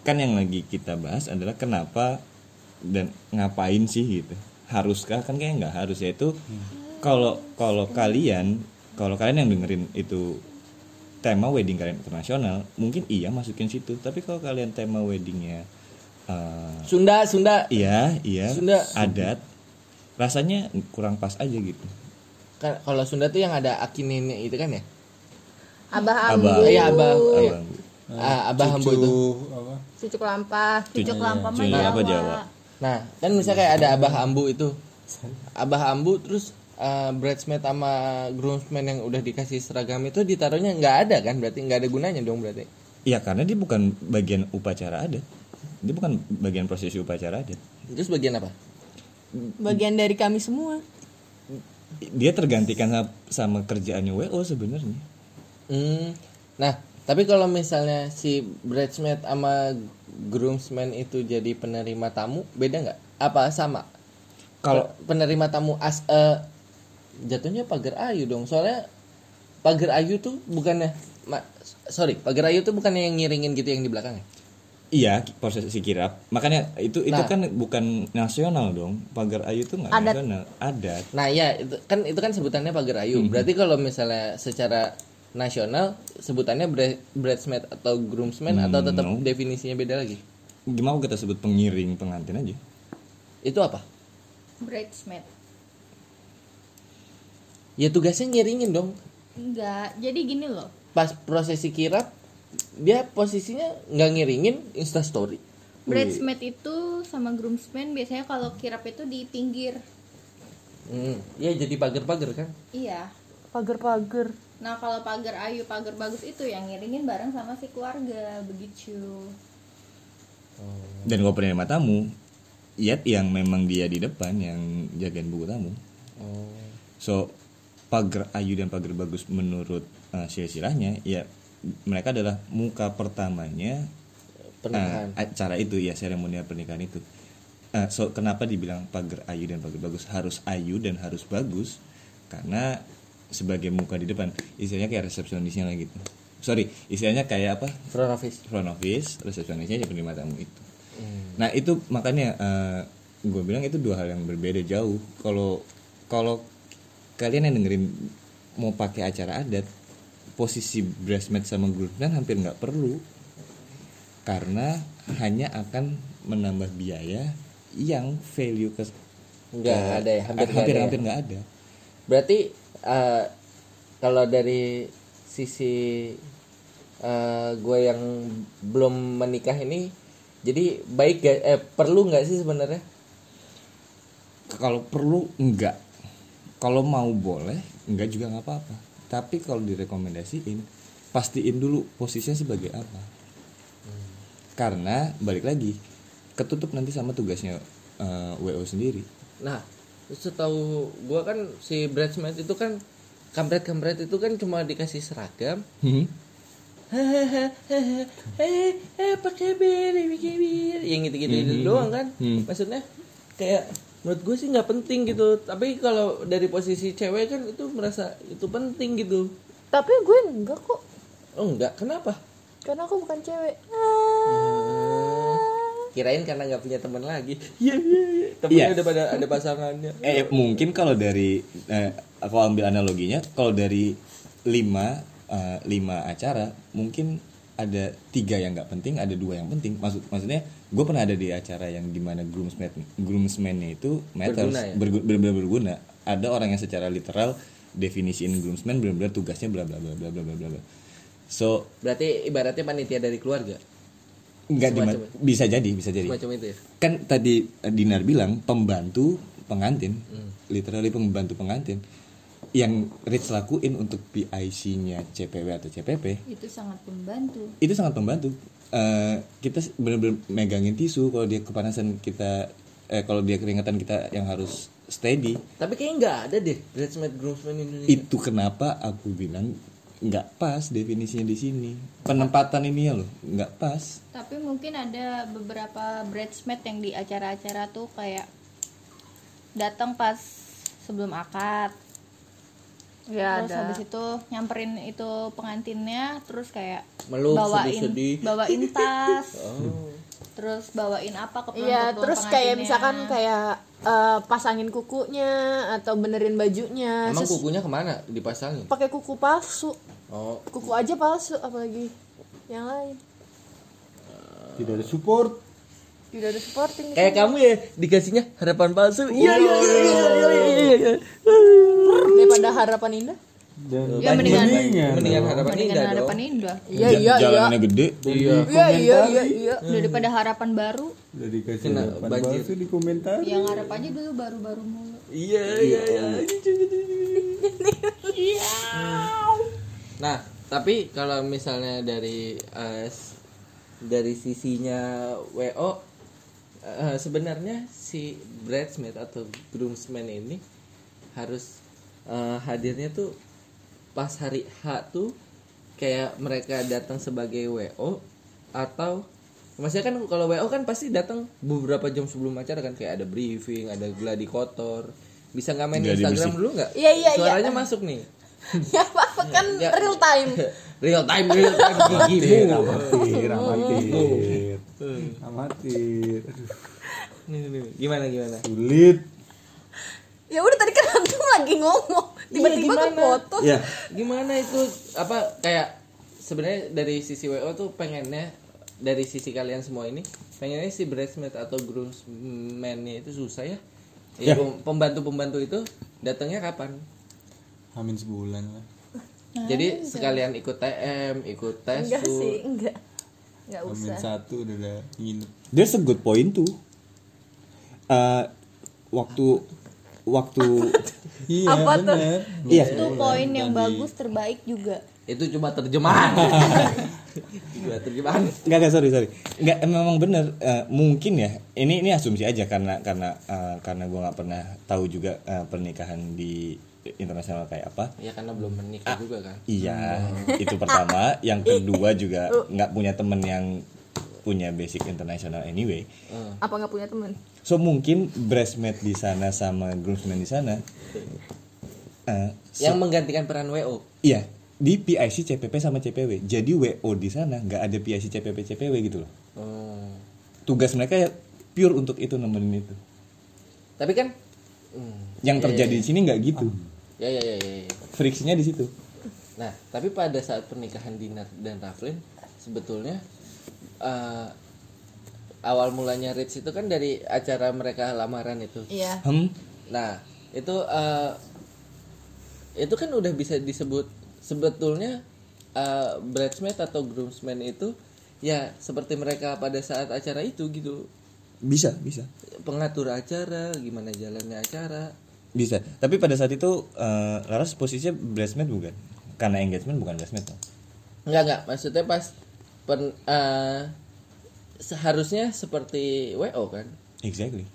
[SPEAKER 1] kan yang lagi kita bahas adalah kenapa dan ngapain sih gitu. Haruskah kan kayaknya nggak harus yaitu kalau kalau kalian kalau kalian yang dengerin itu tema wedding kalian internasional mungkin iya masukin situ tapi kalau kalian tema weddingnya eh,
[SPEAKER 5] Sunda Sunda.
[SPEAKER 1] iya iya
[SPEAKER 5] Sunda.
[SPEAKER 1] adat rasanya kurang pas aja gitu
[SPEAKER 5] Kan kalau Sunda tuh yang ada aki nenek itu kan ya?
[SPEAKER 6] abah
[SPEAKER 1] Abah.
[SPEAKER 6] ambu
[SPEAKER 5] Iya abah. Iya.
[SPEAKER 1] Abang.
[SPEAKER 5] Ah, abah hambo itu.
[SPEAKER 2] Tuh, apa?
[SPEAKER 6] cucu kelampa
[SPEAKER 1] Cucu lampah apa Jawa.
[SPEAKER 5] Nah, kan misalnya kayak ada abah ambu itu. Abah ambu terus eh, bridesmaid sama groomsmen yang udah dikasih seragam itu ditaruhnya nggak ada kan berarti nggak ada gunanya dong berarti.
[SPEAKER 1] Ya karena dia bukan bagian upacara adat. Dia bukan bagian prosesi upacara adat.
[SPEAKER 5] Terus bagian apa?
[SPEAKER 6] bagian dari kami semua
[SPEAKER 1] Dia tergantikan sa- sama, kerjaannya WO sebenarnya.
[SPEAKER 5] Hmm. Nah, tapi kalau misalnya si bridesmaid sama groomsmen itu jadi penerima tamu, beda nggak? Apa sama?
[SPEAKER 1] Kalau
[SPEAKER 5] penerima tamu as eh, jatuhnya pagar ayu dong. Soalnya pagar ayu tuh bukannya ma- sorry, pagar ayu tuh bukannya yang ngiringin gitu yang di belakang ya?
[SPEAKER 1] iya prosesi kirap, makanya itu itu
[SPEAKER 5] Nah.
[SPEAKER 1] kan bukan nasional dong. Pagar ayu itu nggak nasional, adat.
[SPEAKER 5] Nah, ya itu kan itu kan sebutannya pagar
[SPEAKER 1] Hmm.
[SPEAKER 5] ayu. Berarti kalau misalnya secara nasional sebutannya bra- bridesmaid atau groomsmen atau tetap
[SPEAKER 1] Hmm, no.
[SPEAKER 5] definisinya beda lagi.
[SPEAKER 1] Gimana kita sebut pengiring pengantin aja?
[SPEAKER 5] Itu apa?
[SPEAKER 4] Bridesmaid.
[SPEAKER 5] Ya tugasnya ngiringin dong.
[SPEAKER 4] Enggak. Jadi gini loh.
[SPEAKER 5] Pas prosesi kirap dia posisinya nggak ngiringin Insta story.
[SPEAKER 4] Bridesmaid itu sama groomsmen biasanya kalau kirap itu di pinggir.
[SPEAKER 5] Hmm. Ya jadi pagar-pagar kan.
[SPEAKER 4] Iya.
[SPEAKER 6] pagar-pagar
[SPEAKER 4] Nah kalau pagar ayu pagar bagus itu yang ngiringin bareng sama si keluarga begitu.
[SPEAKER 1] Dan kalau penerima tamu, ya yang memang dia di depan yang jagain buku tamu. So pagar ayu dan pagar bagus menurut eh, silsilahnya ya mereka adalah muka pertamanya
[SPEAKER 5] Pernikahan.
[SPEAKER 1] eh, acara itu ya seremonial pernikahan itu. Eh, so kenapa dibilang pagar ayu dan pagar bagus harus ayu dan harus bagus karena sebagai muka di depan istilahnya kayak resepsionisnya lah gitu. Sorry, istilahnya kayak apa?
[SPEAKER 5] Front office.
[SPEAKER 1] front office resepsionisnya jadi penerima tamu itu
[SPEAKER 5] Hmm.
[SPEAKER 1] nah itu makanya gue bilang itu dua hal yang berbeda jauh kalau kalau kalian yang dengerin mau pakai acara adat posisi bridesmaid sama groomsmen hampir nggak perlu karena hanya akan menambah biaya yang value ke
[SPEAKER 5] Nggak
[SPEAKER 1] ke-
[SPEAKER 5] ada ya, hampir nggak
[SPEAKER 1] hampir
[SPEAKER 5] ada ya.
[SPEAKER 1] hampir nggak ada
[SPEAKER 5] Berarti eh, kalau dari sisi eh, gue yang belum menikah ini jadi baik ga- eh perlu nggak sih sebenarnya?
[SPEAKER 1] kalau perlu enggak kalau mau boleh enggak juga nggak apa-apa tapi kalau direkomendasiin pastiin dulu posisinya sebagai apa karena balik lagi ketutup nanti sama tugasnya eh, wo sendiri
[SPEAKER 5] Nah, setahu gue kan si bridesmaid itu kan kampret-kampret itu kan cuma dikasih seragam
[SPEAKER 1] Hmm.
[SPEAKER 5] Hahaha, eh eh apa kabar apa kabar yang gitu gitu doang kan maksudnya kayak menurut gue sih nggak penting gitu tapi kalau dari posisi cewek kan itu merasa itu penting gitu
[SPEAKER 6] tapi gue enggak kok
[SPEAKER 5] oh enggak kenapa
[SPEAKER 6] karena aku bukan cewek
[SPEAKER 5] Eh, ya kirain karena nggak punya teman lagi iya iya iya. temennya
[SPEAKER 1] Iya.
[SPEAKER 5] udah pada ada pasangannya
[SPEAKER 1] Eh mungkin kalau dari eh, aku ambil analoginya kalau dari lima eh, lima acara mungkin ada tiga yang nggak penting ada dua yang penting maksud maksudnya gue pernah ada di acara yang dimana groomsmen groomsmennya itu matters
[SPEAKER 5] Berguna ya?
[SPEAKER 1] bergu- benar-benar berguna ada orang yang secara literal definisiin groomsmen benar-benar tugasnya bla bla bla bla bla bla bla bla. so
[SPEAKER 5] berarti ibaratnya panitia dari keluarga
[SPEAKER 1] nggak dima-
[SPEAKER 5] Semacam itu.
[SPEAKER 1] bisa jadi bisa jadi
[SPEAKER 5] macam itu ya
[SPEAKER 1] kan tadi eh, Dinar bilang pembantu pengantin literally pembantu pengantin yang Rich lakuin untuk PIC-nya CPW atau CPP
[SPEAKER 4] itu sangat membantu
[SPEAKER 1] itu sangat membantu Eh, kita s- bener-bener megangin tisu kalau dia kepanasan kita eh, kalau dia keringetan kita yang harus steady
[SPEAKER 5] tapi kayaknya nggak ada deh bridesmaid groomsmen Indonesia
[SPEAKER 1] itu kenapa aku bilang nggak pas definisinya di sini penempatan ini ya loh nggak pas
[SPEAKER 4] tapi mungkin ada beberapa bridesmaid yang di acara-acara tuh kayak datang pas sebelum akad
[SPEAKER 6] Ya
[SPEAKER 4] terus habis itu nyamperin itu pengantinnya terus kayak
[SPEAKER 5] Meluk,
[SPEAKER 4] bawain
[SPEAKER 5] sedih-sedih.
[SPEAKER 4] bawain tas terus bawain apa ke
[SPEAKER 6] Iya,
[SPEAKER 4] ke
[SPEAKER 6] terus kayak
[SPEAKER 4] pengantinnya.
[SPEAKER 6] misalkan kayak eh, pasangin kukunya atau benerin
[SPEAKER 5] Iya,
[SPEAKER 6] bajunya,
[SPEAKER 5] emang
[SPEAKER 6] terus
[SPEAKER 5] kukunya kemana dipasangin
[SPEAKER 6] pakai kuku palsu,
[SPEAKER 5] oh
[SPEAKER 6] kuku aja palsu, apalagi yang lain.
[SPEAKER 2] Tidak ada support.
[SPEAKER 6] Tidak ada supporting.
[SPEAKER 5] kayak kamu ya dikasihnya harapan palsu iya iya iya iya iya, iya
[SPEAKER 6] daripada harapan indah.
[SPEAKER 2] Dan
[SPEAKER 4] ya mendingan
[SPEAKER 5] iya mendingan harapan
[SPEAKER 4] mendingan
[SPEAKER 5] indah dong
[SPEAKER 4] harapan indah
[SPEAKER 6] Iya
[SPEAKER 1] Ja-
[SPEAKER 6] iya iya.
[SPEAKER 1] jalanannya gede
[SPEAKER 5] iya
[SPEAKER 6] Iya iya iya iya.
[SPEAKER 4] daripada harapan baru
[SPEAKER 2] udah dikasih
[SPEAKER 5] Kena
[SPEAKER 2] harapan
[SPEAKER 5] banjir.
[SPEAKER 2] palsu di komentar.
[SPEAKER 4] yang harap aja dulu baru-baru mulu
[SPEAKER 5] Iya, iya, iya. Nah, tapi kalau misalnya dari eh, s- dari sisinya WO eh, sebenarnya si bridesmaid atau groomsman ini harus eh, hadirnya tuh pas hari H tuh kayak mereka datang sebagai WO atau maksudnya kan kalau WO kan pasti datang beberapa jam sebelum acara kan kayak ada briefing, ada gladi kotor. Bisa nggak main
[SPEAKER 1] Gladi
[SPEAKER 5] Instagram
[SPEAKER 1] bersih.
[SPEAKER 5] dulu nggak?
[SPEAKER 6] Iya, iya, iya.
[SPEAKER 5] Suaranya masuk nih.
[SPEAKER 6] Ya apa kan
[SPEAKER 5] Ya.
[SPEAKER 6] real time.
[SPEAKER 5] Real time, real time
[SPEAKER 2] Amatir,
[SPEAKER 5] gigimu.
[SPEAKER 2] amatir, amatir. Amatir. Aduh,
[SPEAKER 5] Nih, nih, Gimana gimana?
[SPEAKER 2] Sulit.
[SPEAKER 6] Ya udah tadi kan antum lagi ngomong, tiba-tiba
[SPEAKER 5] gimana?
[SPEAKER 6] kepotong.
[SPEAKER 1] ya
[SPEAKER 5] Gimana itu apa kayak sebenarnya dari sisi WO tuh pengennya dari sisi kalian semua ini pengennya si bridesmaid atau groomsman-nya itu susah ya. Ya, pem- pembantu-pembantu itu datangnya kapan?
[SPEAKER 8] Hamin sebulan lah.
[SPEAKER 5] Jadi sekalian ikut TM, ikut tes
[SPEAKER 6] Ah, iya. Enggak
[SPEAKER 5] tuh.
[SPEAKER 6] sih, enggak. Enggak
[SPEAKER 8] Hamin
[SPEAKER 6] usah.
[SPEAKER 8] satu udah ada nginep.
[SPEAKER 1] There's a good point tuh. Eh, waktu waktu
[SPEAKER 8] Iya bener.
[SPEAKER 1] iya
[SPEAKER 4] itu poin yang bagus terbaik juga
[SPEAKER 5] Itu cuma terjemahan. cuma terjemahan.
[SPEAKER 1] nggak nggak sorry sorry nggak memang bener Eh, mungkin ya ini ini asumsi aja karena karena eh, karena gue nggak pernah tahu juga eh, pernikahan di internasional kayak apa
[SPEAKER 5] Ya karena belum menikah juga kan.
[SPEAKER 1] iya itu pertama yang kedua juga nggak punya temen yang punya basic internasional anyway
[SPEAKER 6] Apa nggak punya teman?
[SPEAKER 1] So mungkin bridesmaid di sana sama groomsmen di sana. eh,
[SPEAKER 5] Yang menggantikan peran WO.
[SPEAKER 1] Iya, di PIC CPP sama CPW. Jadi WO di sana nggak ada PIC CPP CPW gitu loh.
[SPEAKER 5] Oh.
[SPEAKER 1] Tugas mereka ya pure untuk itu nemenin itu.
[SPEAKER 5] Tapi kan hmm,
[SPEAKER 6] Iya,
[SPEAKER 1] Yang terjadi di sini nggak gitu.
[SPEAKER 5] ya, ya ya ya. ya.
[SPEAKER 1] Friksinya di situ.
[SPEAKER 5] Nah, tapi pada saat pernikahan Dinar dan Raflin sebetulnya eh, awal mulanya Rich itu kan dari acara mereka lamaran itu.
[SPEAKER 6] Iya.
[SPEAKER 1] Hmm,
[SPEAKER 5] Nah, itu eh, itu kan udah bisa disebut sebetulnya eh, bridesmaid atau groomsmen itu ya seperti mereka pada saat acara itu gitu.
[SPEAKER 1] bisa, bisa.
[SPEAKER 5] Pengatur acara, gimana jalannya acara.
[SPEAKER 1] Bisa. Tapi pada saat itu eh, Laras posisinya bridesmaid bukan? Karena engagement bukan bridesmaid. kan?
[SPEAKER 5] Enggak enggak, maksudnya pas pen- eh, seharusnya seperti WO kan.
[SPEAKER 1] Exactly.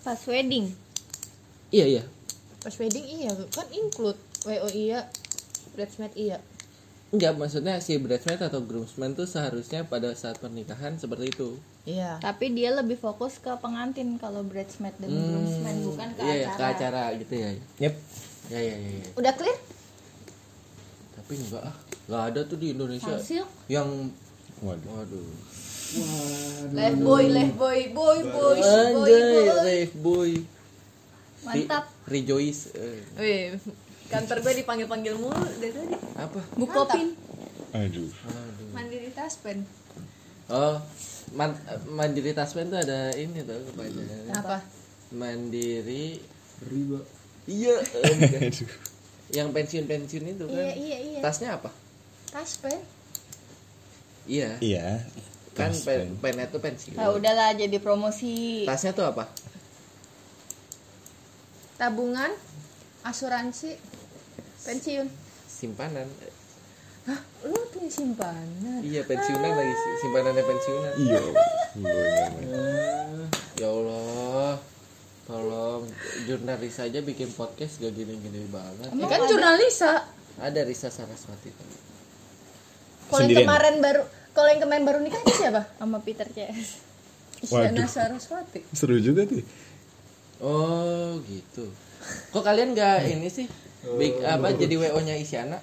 [SPEAKER 4] pas wedding
[SPEAKER 5] Iya iya.
[SPEAKER 6] Pas wedding iya, kan include WO iya, bridesmaid iya.
[SPEAKER 5] Enggak, maksudnya si bridesmaid atau groomsman tuh seharusnya pada saat pernikahan seperti itu.
[SPEAKER 6] Iya.
[SPEAKER 4] tapi dia lebih fokus ke pengantin kalau bridesmaid dan groomsmen bukan ke
[SPEAKER 5] Iya, iya,
[SPEAKER 4] acara
[SPEAKER 5] ke acara gitu ya.
[SPEAKER 1] Yep.
[SPEAKER 5] Ya ya ya. ya.
[SPEAKER 6] Udah clear?
[SPEAKER 5] Tapi enggak ah. Enggak ada tuh di Indonesia
[SPEAKER 4] Hasil?
[SPEAKER 5] yang
[SPEAKER 1] Waduh.
[SPEAKER 5] waduh.
[SPEAKER 4] Leh boy, leh boy, boy, boy, boy,
[SPEAKER 5] Anjay,
[SPEAKER 4] boy.
[SPEAKER 5] rave boy. Re-
[SPEAKER 4] Mantap.
[SPEAKER 5] rejoice. eh,
[SPEAKER 3] Wih, kantor gue dipanggil-panggil mulu dari tadi.
[SPEAKER 5] apa?
[SPEAKER 4] Bukopin.
[SPEAKER 1] Aduh.
[SPEAKER 3] Mandiri taspen.
[SPEAKER 5] Oh, man, mandiri taspen tuh ada ini tuh kepanjangannya.
[SPEAKER 3] Apa?
[SPEAKER 5] Mandiri Riba. Iya, eh, bukan. yang pensiun-pensiun itu kan.
[SPEAKER 4] Iya, iya, iya.
[SPEAKER 5] Tasnya apa?
[SPEAKER 4] Taspen.
[SPEAKER 5] Iya.
[SPEAKER 1] Iya.
[SPEAKER 5] Kan
[SPEAKER 1] Taspen.
[SPEAKER 5] pen, pennya tuh pensiun.
[SPEAKER 4] Nah, udahlah jadi promosi.
[SPEAKER 5] Tasnya tuh apa?
[SPEAKER 6] tabungan asuransi pensiun
[SPEAKER 5] Simpanan.
[SPEAKER 6] Hah, lu punya
[SPEAKER 4] Nah.
[SPEAKER 6] simpanan
[SPEAKER 5] Iya, pensiunan lagi si- simpanannya pensiunan.
[SPEAKER 1] Iya. Iya, iya.
[SPEAKER 5] Ya Allah. Tolong jurnalis aja bikin podcast gak gini-gini banget.
[SPEAKER 6] ya kan jurnalisa
[SPEAKER 5] Ada Risa Saraswati tadi.
[SPEAKER 6] kalau yang
[SPEAKER 1] Sendirian.
[SPEAKER 6] kemarin baru kalau yang kemarin baru nikah itu siapa
[SPEAKER 4] Sama Peter CS.
[SPEAKER 6] Isyana Saraswati
[SPEAKER 1] Seru juga tuh.
[SPEAKER 5] Oh, gitu. Kok kalian gak ini sih? Bik- apa jadi WO-nya Isyana?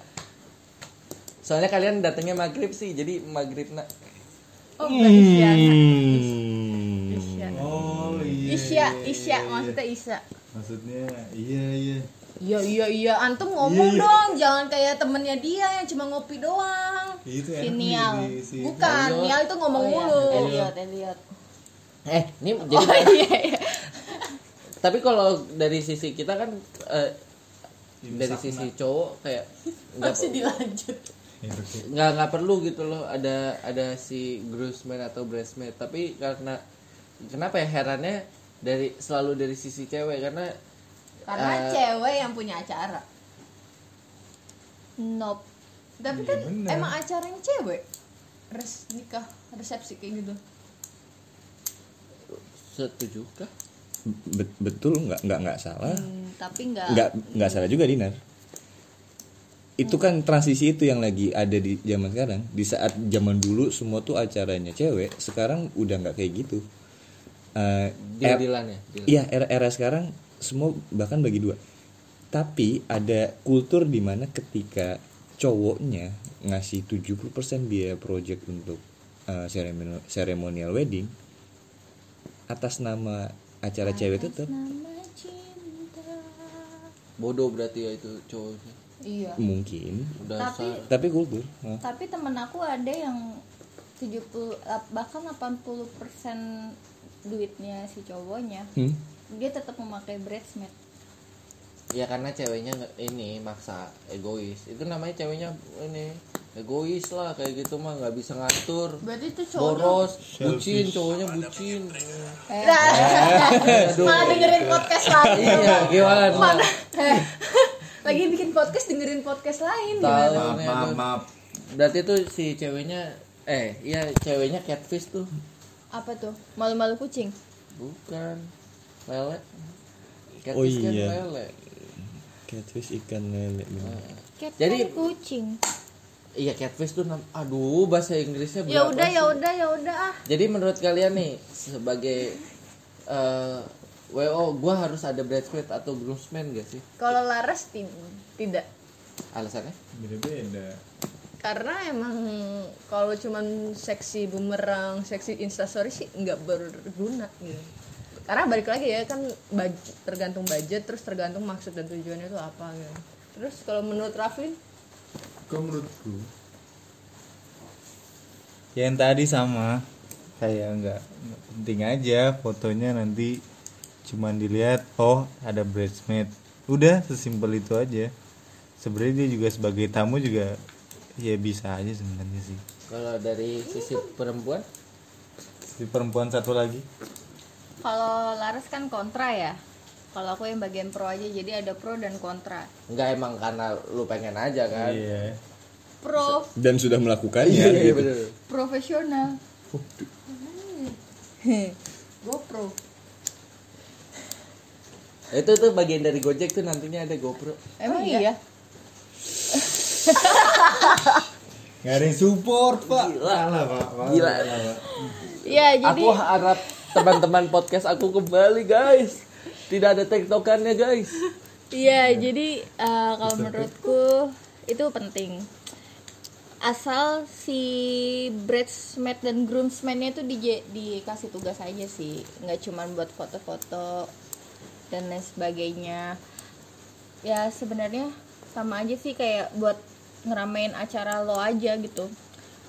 [SPEAKER 5] Soalnya kalian datangnya maghrib sih, jadi maghrib nak.
[SPEAKER 4] Oh, bukan Isyana.
[SPEAKER 1] Hmm.
[SPEAKER 2] Oh iya.
[SPEAKER 4] Isya, Isya, maksudnya Isya.
[SPEAKER 2] Maksudnya iya iya.
[SPEAKER 6] iya iya iya antum ngomong dong jangan kayak temennya dia yang cuma ngopi doang
[SPEAKER 2] Itu enak
[SPEAKER 4] Sinial.
[SPEAKER 2] nih, di- si-
[SPEAKER 6] bukan
[SPEAKER 5] Ayo.
[SPEAKER 6] Nia itu ngomong mulu
[SPEAKER 4] Oh, iya. Elliot, Elliot.
[SPEAKER 5] Eh, ini jadi iya. Tapi kalau dari sisi kita kan eh, dari sisi cowok kayak nggak
[SPEAKER 6] dilanjut
[SPEAKER 2] Itu sih.
[SPEAKER 5] nggak nggak perlu gitu loh ada ada si groomsman atau bridesmaid tapi karena kenapa ya herannya dari selalu dari sisi cewek karena
[SPEAKER 6] karena
[SPEAKER 5] Eh.
[SPEAKER 6] cewek yang punya acara
[SPEAKER 4] Nope.
[SPEAKER 6] tapi
[SPEAKER 7] Iya,
[SPEAKER 6] kan emang acaranya cewek res nikah resepsi kayak gitu
[SPEAKER 5] setuju kah?
[SPEAKER 1] Bet- betul nggak nggak nggak salah.
[SPEAKER 4] Hmm, tapi nggak.
[SPEAKER 1] nggak nggak salah juga Dinar itu kan transisi itu yang lagi ada di zaman sekarang di saat zaman dulu semua tuh acaranya cewek sekarang udah nggak kayak gitu Eh, er-
[SPEAKER 5] Dilan ya. Dilan.
[SPEAKER 1] iya era era sekarang semua bahkan bagi dua tapi ada kultur di mana ketika cowoknya ngasih 70% biaya project untuk eh, ceremonial, ceremonial wedding atas nama acara cewek tetap
[SPEAKER 4] Nama cinta.
[SPEAKER 5] Bodoh berarti ya itu cowoknya.
[SPEAKER 6] iya
[SPEAKER 1] mungkin
[SPEAKER 5] Dasar.
[SPEAKER 1] tapi kultur eh, Hah?
[SPEAKER 4] Tapi temen aku ada yang 70 ap- bahkan 80% duitnya si cowoknya
[SPEAKER 1] Hmm?
[SPEAKER 4] dia tetap memakai bridesmaid
[SPEAKER 5] Ya karena ceweknya nggak- ini maksa egois. Itu namanya ceweknya ini egois lah kayak gitu mah nggak bisa ngatur.
[SPEAKER 6] berarti itu Eh.
[SPEAKER 5] Boros, bucin, cowoknya bucin. Eh,
[SPEAKER 6] malah dengerin podcast lagi
[SPEAKER 5] Iya, gimana?
[SPEAKER 6] Heh, lagi bikin podcast dengerin podcast lain
[SPEAKER 5] Tahu
[SPEAKER 2] Maaf
[SPEAKER 5] nih
[SPEAKER 2] maaf
[SPEAKER 5] aduh.
[SPEAKER 2] maaf.
[SPEAKER 5] Berarti tuh si ceweknya eh iya ceweknya catfish tuh.
[SPEAKER 4] apa tuh malu-malu kucing
[SPEAKER 5] Bukan. Lele. Catfish
[SPEAKER 1] Oh iya.
[SPEAKER 5] kan lele.
[SPEAKER 1] Catfish ikan lele.
[SPEAKER 5] Hmm.
[SPEAKER 1] bener.
[SPEAKER 4] Cat
[SPEAKER 5] Jadi-
[SPEAKER 4] kan kucing
[SPEAKER 5] Iya catfish tuh nam- aduh bahasa Inggrisnya
[SPEAKER 6] ya
[SPEAKER 5] berapa
[SPEAKER 6] udah ya
[SPEAKER 5] sih?
[SPEAKER 6] udah ya udah ah
[SPEAKER 5] Jadi menurut kalian nih sebagai eh, WO gua harus ada bridesmaid atau groomsman gak sih?
[SPEAKER 6] kalau Laras ti- tidak
[SPEAKER 5] Alasannya?
[SPEAKER 2] Beda beda.
[SPEAKER 6] karena emang kalau cuman seksi bumerang seksi instastory sih nggak berguna gitu karena balik lagi ya kan baj- tergantung budget terus tergantung maksud dan tujuannya itu apa gitu terus kalau menurut Rafli
[SPEAKER 2] Kok menurutku? Yang tadi sama. Kayak nggak nggak penting aja fotonya nanti cuman dilihat oh ada bridesmaid. Udah sesimpel itu aja. Sebenarnya dia juga sebagai tamu juga ya bisa aja sebenarnya sih.
[SPEAKER 5] Kalau dari sisi
[SPEAKER 4] Iya.
[SPEAKER 5] perempuan
[SPEAKER 2] Si perempuan satu lagi.
[SPEAKER 4] kalau Laras kan kontra ya kalau aku yang bagian pro aja jadi ada pro dan kontra
[SPEAKER 5] nggak emang karena lu pengen aja kan?
[SPEAKER 2] Iya.
[SPEAKER 4] pro
[SPEAKER 1] Dan sudah melakukannya. gitu.
[SPEAKER 5] iya bener.
[SPEAKER 4] profesional
[SPEAKER 6] GoPro
[SPEAKER 5] Itu tuh bagian dari Gojek tuh nantinya ada GoPro.
[SPEAKER 4] Oh,
[SPEAKER 6] emang iya
[SPEAKER 2] Gak ada yang support, Pak.
[SPEAKER 5] Gila.
[SPEAKER 2] Salah, Pak. Salah,
[SPEAKER 5] Gila.
[SPEAKER 2] salah, Pak.
[SPEAKER 4] ya jadi
[SPEAKER 5] Aku harap teman-teman podcast aku kembali guys. Tidak ada tektokannya guys.
[SPEAKER 4] Iya, jadi eh, kalau menurutku itu penting. asal si bridesmaid dan groomsmaidnya itu di dikasih tugas aja sih nggak cuman buat foto-foto dan lain sebagainya ya sebenarnya sama aja sih kayak buat ngeramein acara lo aja gitu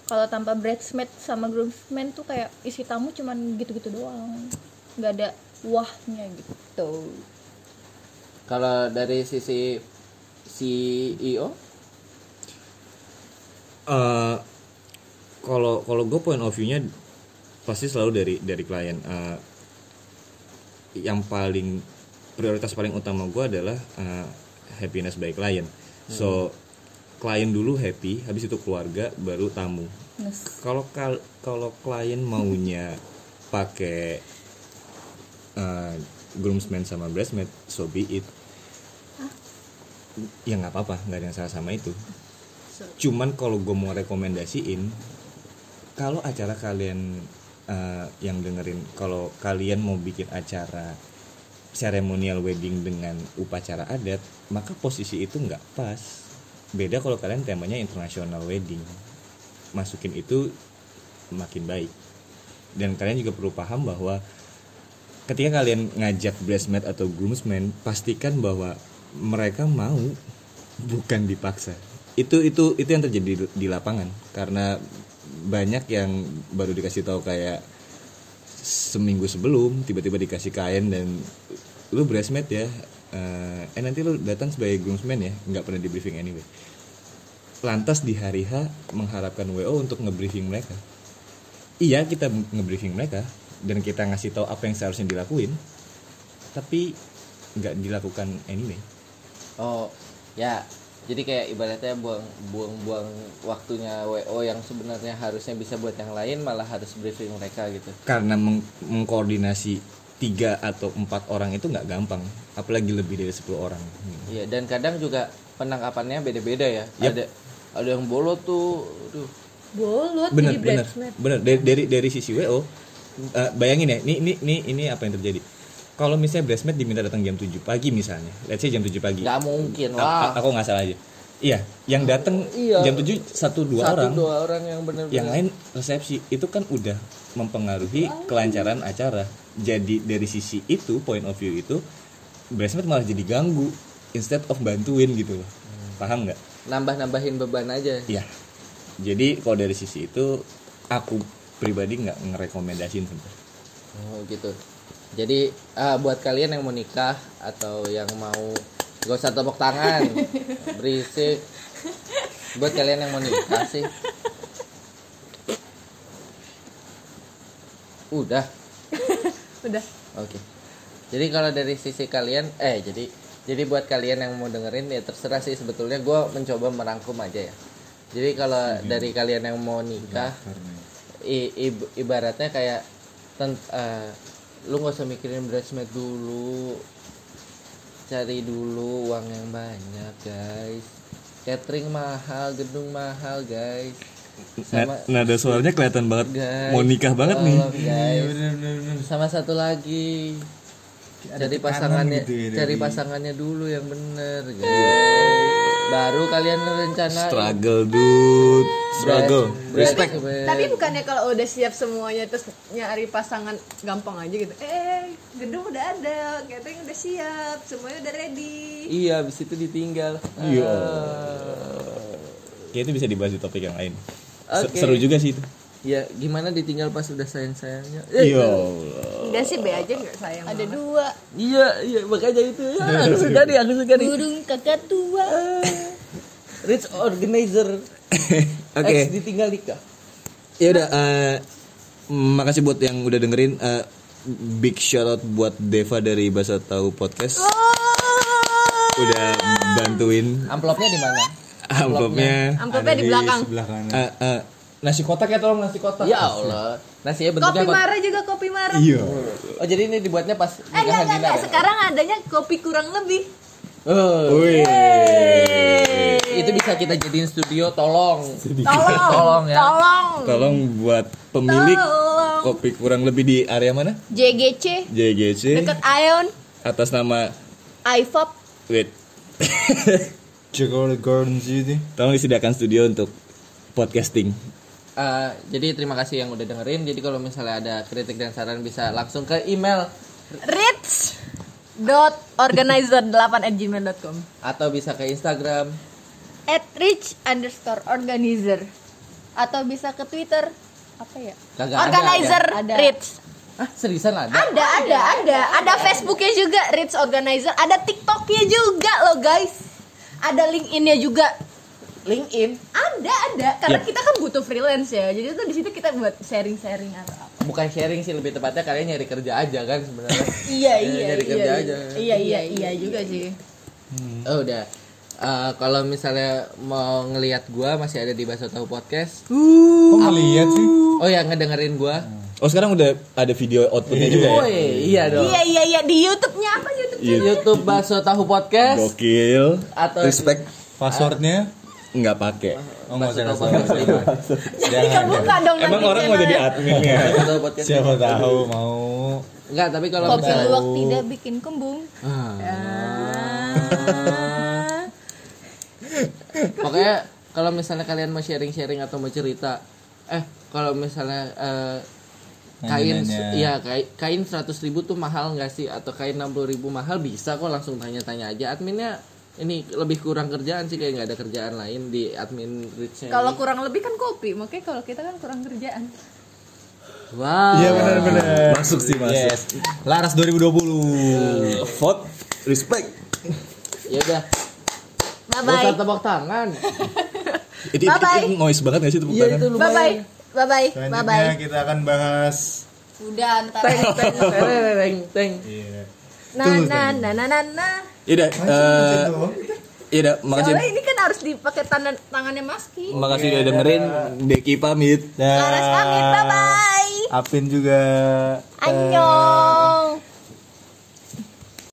[SPEAKER 4] kalau tanpa bridesmaid sama groomsmen tuh kayak isi tamu cuman gitu-gitu doang nggak ada wahnya gitu
[SPEAKER 5] Kalau dari sisi E CEO
[SPEAKER 1] Eh, kalau kalau gue point of view-nya pasti selalu dari dari klien Eh, yang paling prioritas paling utama gue adalah eh, happiness by klien so klien dulu happy habis itu keluarga baru tamu kalau kal- kalau klien maunya pakai eh, groomsmen sama bridesmaid so be it ya nggak apa-apa nggak ada yang salah sama itu cuman kalau gue mau rekomendasiin kalau acara kalian eh, yang dengerin kalau kalian mau bikin acara seremonial wedding dengan upacara adat maka posisi itu nggak pas beda kalau kalian temanya international wedding masukin itu makin baik dan kalian juga perlu paham bahwa ketika kalian ngajak bridesmaid atau groomsmen pastikan bahwa mereka mau bukan dipaksa itu itu itu yang terjadi di- di lapangan karena banyak yang baru dikasih tahu kayak seminggu sebelum tiba-tiba dikasih kain dan lu bridesmaid ya eh, eh nanti lu datang sebagai groomsman ya nggak pernah di briefing anyway lantas di hari H mengharapkan WO untuk ngebriefing mereka iya kita ngebriefing mereka dan kita ngasih tahu apa yang seharusnya dilakuin tapi nggak dilakukan anyway
[SPEAKER 5] Oh ya jadi kayak ibaratnya buang buang buang waktunya WO yang sebenarnya harusnya bisa buat yang lain malah harus briefing mereka gitu.
[SPEAKER 1] karena meng- mengkoordinasi tiga atau empat orang itu nggak gampang apalagi lebih dari 10 orang Hmm.
[SPEAKER 5] Iya dan kadang juga penangkapannya beda-beda ya.
[SPEAKER 1] Yap.
[SPEAKER 5] Ada ada yang bolot tuh. Aduh.
[SPEAKER 6] bolot
[SPEAKER 1] bener
[SPEAKER 3] iya,
[SPEAKER 6] jadi
[SPEAKER 1] bener
[SPEAKER 6] bridesmaid
[SPEAKER 1] bener dari dari, dari sisi wo eh, bayangin ya ini ini ini ini apa yang terjadi kalau misalnya bridesmaid diminta datang jam 7 pagi misalnya let's say jam 7 pagi
[SPEAKER 5] nggak mungkin
[SPEAKER 1] A-
[SPEAKER 5] lah.
[SPEAKER 1] a- aku nggak salah aja iya yang datang
[SPEAKER 5] Iya.
[SPEAKER 1] jam 7 satu dua
[SPEAKER 5] Satu
[SPEAKER 1] orang
[SPEAKER 5] dua orang yang benar-benar.
[SPEAKER 1] yang lain resepsi itu kan udah mempengaruhi kelancaran acara jadi dari sisi itu point of view itu bridesmaid malah jadi ganggu instead of bantuin gitu loh
[SPEAKER 5] Hmm.
[SPEAKER 1] paham nggak
[SPEAKER 5] nambah-nambahin beban aja.
[SPEAKER 1] Iya. Jadi kalau dari sisi itu aku pribadi nggak ngerekomendasiin sebenarnya.
[SPEAKER 5] Oh gitu. Jadi ah, buat kalian yang mau nikah atau yang mau gak usah tepuk tangan, berisik. Buat kalian yang mau nikah sih. Udah.
[SPEAKER 6] udah
[SPEAKER 5] Oke. Jadi kalau dari sisi kalian, eh jadi jadi buat kalian yang mau dengerin ya terserah sih sebetulnya gue mencoba merangkum aja ya. Jadi kalau dari kalian yang mau nikah, i- i- ibaratnya kayak ten- eh, lu nggak usah mikirin bridesmaid dulu, cari dulu uang yang banyak guys. Catering mahal, gedung mahal guys. Sama-
[SPEAKER 1] Nada suaranya kelihatan banget
[SPEAKER 5] Guys,
[SPEAKER 1] mau nikah banget nih.
[SPEAKER 5] tolong,
[SPEAKER 1] iya,
[SPEAKER 5] guys. Sama satu lagi. cari pasangannya,
[SPEAKER 2] gitu ya dari-
[SPEAKER 5] cari pasangannya dulu yang bener guys. Baru kalian rencana
[SPEAKER 1] Iya.
[SPEAKER 5] Iya,
[SPEAKER 1] Struggle dude, struggle. Respect.
[SPEAKER 6] Eh.
[SPEAKER 7] Tapi bukannya kalau udah siap semuanya terus nyari pasangan gampang aja gitu. Eh, gedung udah ada, catering udah siap, semuanya udah ready.
[SPEAKER 5] Iya, habis itu ditinggal.
[SPEAKER 1] Iya.
[SPEAKER 5] Ah.
[SPEAKER 1] Kayak itu bisa dibahas di topik yang lain. Se-
[SPEAKER 5] Oke.
[SPEAKER 1] Seru juga sih itu.
[SPEAKER 5] Ya, gimana ditinggal pas udah sayang-sayangnya? Eh,
[SPEAKER 1] Iya.
[SPEAKER 7] Udah sih be aja nggak sayang.
[SPEAKER 4] ada dua
[SPEAKER 5] Iya, iya, makanya itu. Ya, aku suka nih, aku suka nih. Eh,
[SPEAKER 4] burung kakak tua
[SPEAKER 5] Rich organizer.
[SPEAKER 1] Oke.
[SPEAKER 5] Ex ditinggal nikah.
[SPEAKER 1] Ya udah. eh, makasih buat yang udah dengerin. eh, big shout out buat Deva dari Bahasa Tahu Podcast. Udah bantuin
[SPEAKER 5] Amplopnya di mana?
[SPEAKER 1] amplopnya.
[SPEAKER 7] Amplopnya di belakang.
[SPEAKER 2] sebelah kanan
[SPEAKER 1] Eh, eh, nasi kotak ya tolong nasi kotak.
[SPEAKER 5] Ya Allah. Nasinya bentuknya
[SPEAKER 7] Kopi
[SPEAKER 5] kot-
[SPEAKER 7] marah juga kopi marah.
[SPEAKER 1] Iya.
[SPEAKER 5] Oh jadi ini dibuatnya
[SPEAKER 7] Eh,
[SPEAKER 5] pas
[SPEAKER 7] enggak,
[SPEAKER 5] nikahan
[SPEAKER 7] enggak,
[SPEAKER 5] Dinar
[SPEAKER 7] enggak.
[SPEAKER 5] ya?
[SPEAKER 7] Sekarang adanya kopi kurang lebih.
[SPEAKER 5] Eh,
[SPEAKER 1] Wih.
[SPEAKER 5] itu bisa kita jadiin studio tolong.
[SPEAKER 7] Tolong.
[SPEAKER 5] Tolong ya.
[SPEAKER 7] Tolong.
[SPEAKER 1] Tolong buat pemilik
[SPEAKER 7] Tolong.
[SPEAKER 1] kopi kurang lebih di area mana?
[SPEAKER 4] JGC
[SPEAKER 1] JGC
[SPEAKER 7] Dekat Aeon,
[SPEAKER 1] atas nama
[SPEAKER 4] IFOP
[SPEAKER 1] wait.
[SPEAKER 2] Jakarta Garden City iya
[SPEAKER 1] Tolong disediakan studio untuk podcasting.
[SPEAKER 5] Eh, jadi terima kasih yang udah dengerin. Jadi kalau misalnya ada kritik dan saran bisa langsung ke email
[SPEAKER 3] Rich dot organizer 8 at gmail.com
[SPEAKER 5] atau bisa ke Instagram.
[SPEAKER 4] at rich underscore organizer atau bisa ke twitter apa ya
[SPEAKER 5] Kagak ada,
[SPEAKER 3] organizer
[SPEAKER 5] ada.
[SPEAKER 4] ada.
[SPEAKER 3] Rich
[SPEAKER 5] Ah, seriusan ada?
[SPEAKER 3] ada ada ada ada Facebooknya juga Rich organizer ada TikToknya juga loh guys ada LinkedInnya juga LinkedIn ada ada karena
[SPEAKER 1] Yap.
[SPEAKER 3] kita kan butuh freelance ya jadi tuh di situ kita buat sharing sharing atau apa
[SPEAKER 5] Bukan sharing sih lebih tepatnya kalian nyari kerja aja kan sebenarnya.
[SPEAKER 3] iya
[SPEAKER 5] Ya,
[SPEAKER 3] iya
[SPEAKER 5] nyari
[SPEAKER 3] iya
[SPEAKER 5] kerja
[SPEAKER 3] iya,
[SPEAKER 5] aja.
[SPEAKER 3] iya iya iya juga sih Hmm.
[SPEAKER 5] Oh, udah. Eh, kalau misalnya mau ngelihat gua masih ada di Baso Tahu Podcast.
[SPEAKER 3] Uh.
[SPEAKER 2] Kok ngeliat sih?
[SPEAKER 5] Oh ya ngedengerin gua.
[SPEAKER 1] Oh sekarang udah ada video outputnya juga ya?
[SPEAKER 5] Woi, iya dong.
[SPEAKER 3] Hmm. iya iya iya di YouTube-nya apa YouTube
[SPEAKER 5] YouTube Baso Tahu Podcast
[SPEAKER 1] Gokil.
[SPEAKER 5] atau
[SPEAKER 1] Respect
[SPEAKER 2] Passwordnya?
[SPEAKER 1] nggak pakai.
[SPEAKER 2] Oh nggak usah, nggak usah, nggak usah.
[SPEAKER 3] jadi kebuka dong
[SPEAKER 1] Emang orang mau
[SPEAKER 5] ya?
[SPEAKER 1] jadi ya? adminnya?
[SPEAKER 5] Baso Tahu Podcast.
[SPEAKER 2] Siapa tahu mau
[SPEAKER 5] Enggak, tapi kalau
[SPEAKER 4] kopi
[SPEAKER 5] misalnya
[SPEAKER 4] luwak tidak bikin kembung
[SPEAKER 5] Ah.
[SPEAKER 3] Ah.
[SPEAKER 5] Pokoknya kalau misalnya kalian mau sharing-sharing atau mau cerita, eh kalau misalnya eh, kain
[SPEAKER 2] Nanya-nanya.
[SPEAKER 5] ya kain, kain 100 ribu tuh mahal nggak sih atau kain 60 ribu mahal bisa kok langsung tanya-tanya aja adminnya ini lebih kurang kerjaan sih kayak nggak ada kerjaan lain di admin richnya
[SPEAKER 3] kalau kurang lebih kan kopi makanya kalau kita kan kurang kerjaan
[SPEAKER 5] wow
[SPEAKER 2] Iya benar-benar.
[SPEAKER 1] Masuk sih masuk.
[SPEAKER 2] Yes. Laras 2020.
[SPEAKER 1] Vote respect.
[SPEAKER 5] ya udah
[SPEAKER 3] bye
[SPEAKER 5] nggak usah
[SPEAKER 3] bye
[SPEAKER 5] tepuk tangan
[SPEAKER 1] Itu, itu, itu noise banget nggak sih tepuk
[SPEAKER 5] iya
[SPEAKER 1] tangan?
[SPEAKER 5] itu
[SPEAKER 3] bye bye
[SPEAKER 5] lumayan
[SPEAKER 3] bye bye bye bye
[SPEAKER 9] Selanjutnya kita akan bahas
[SPEAKER 4] udah ntar
[SPEAKER 5] teng teng teng teng teng
[SPEAKER 9] Iya.
[SPEAKER 3] nah nah nah nah nah nah
[SPEAKER 1] Iya, dah, eh, iya, dah, makasih.
[SPEAKER 3] soalnya ini kan harus dipakai tangan tangannya maski
[SPEAKER 1] Makasih udah dengerin Deki pamit.
[SPEAKER 3] Laras pamit bye bye
[SPEAKER 9] Iya. Apin juga.
[SPEAKER 3] annyeong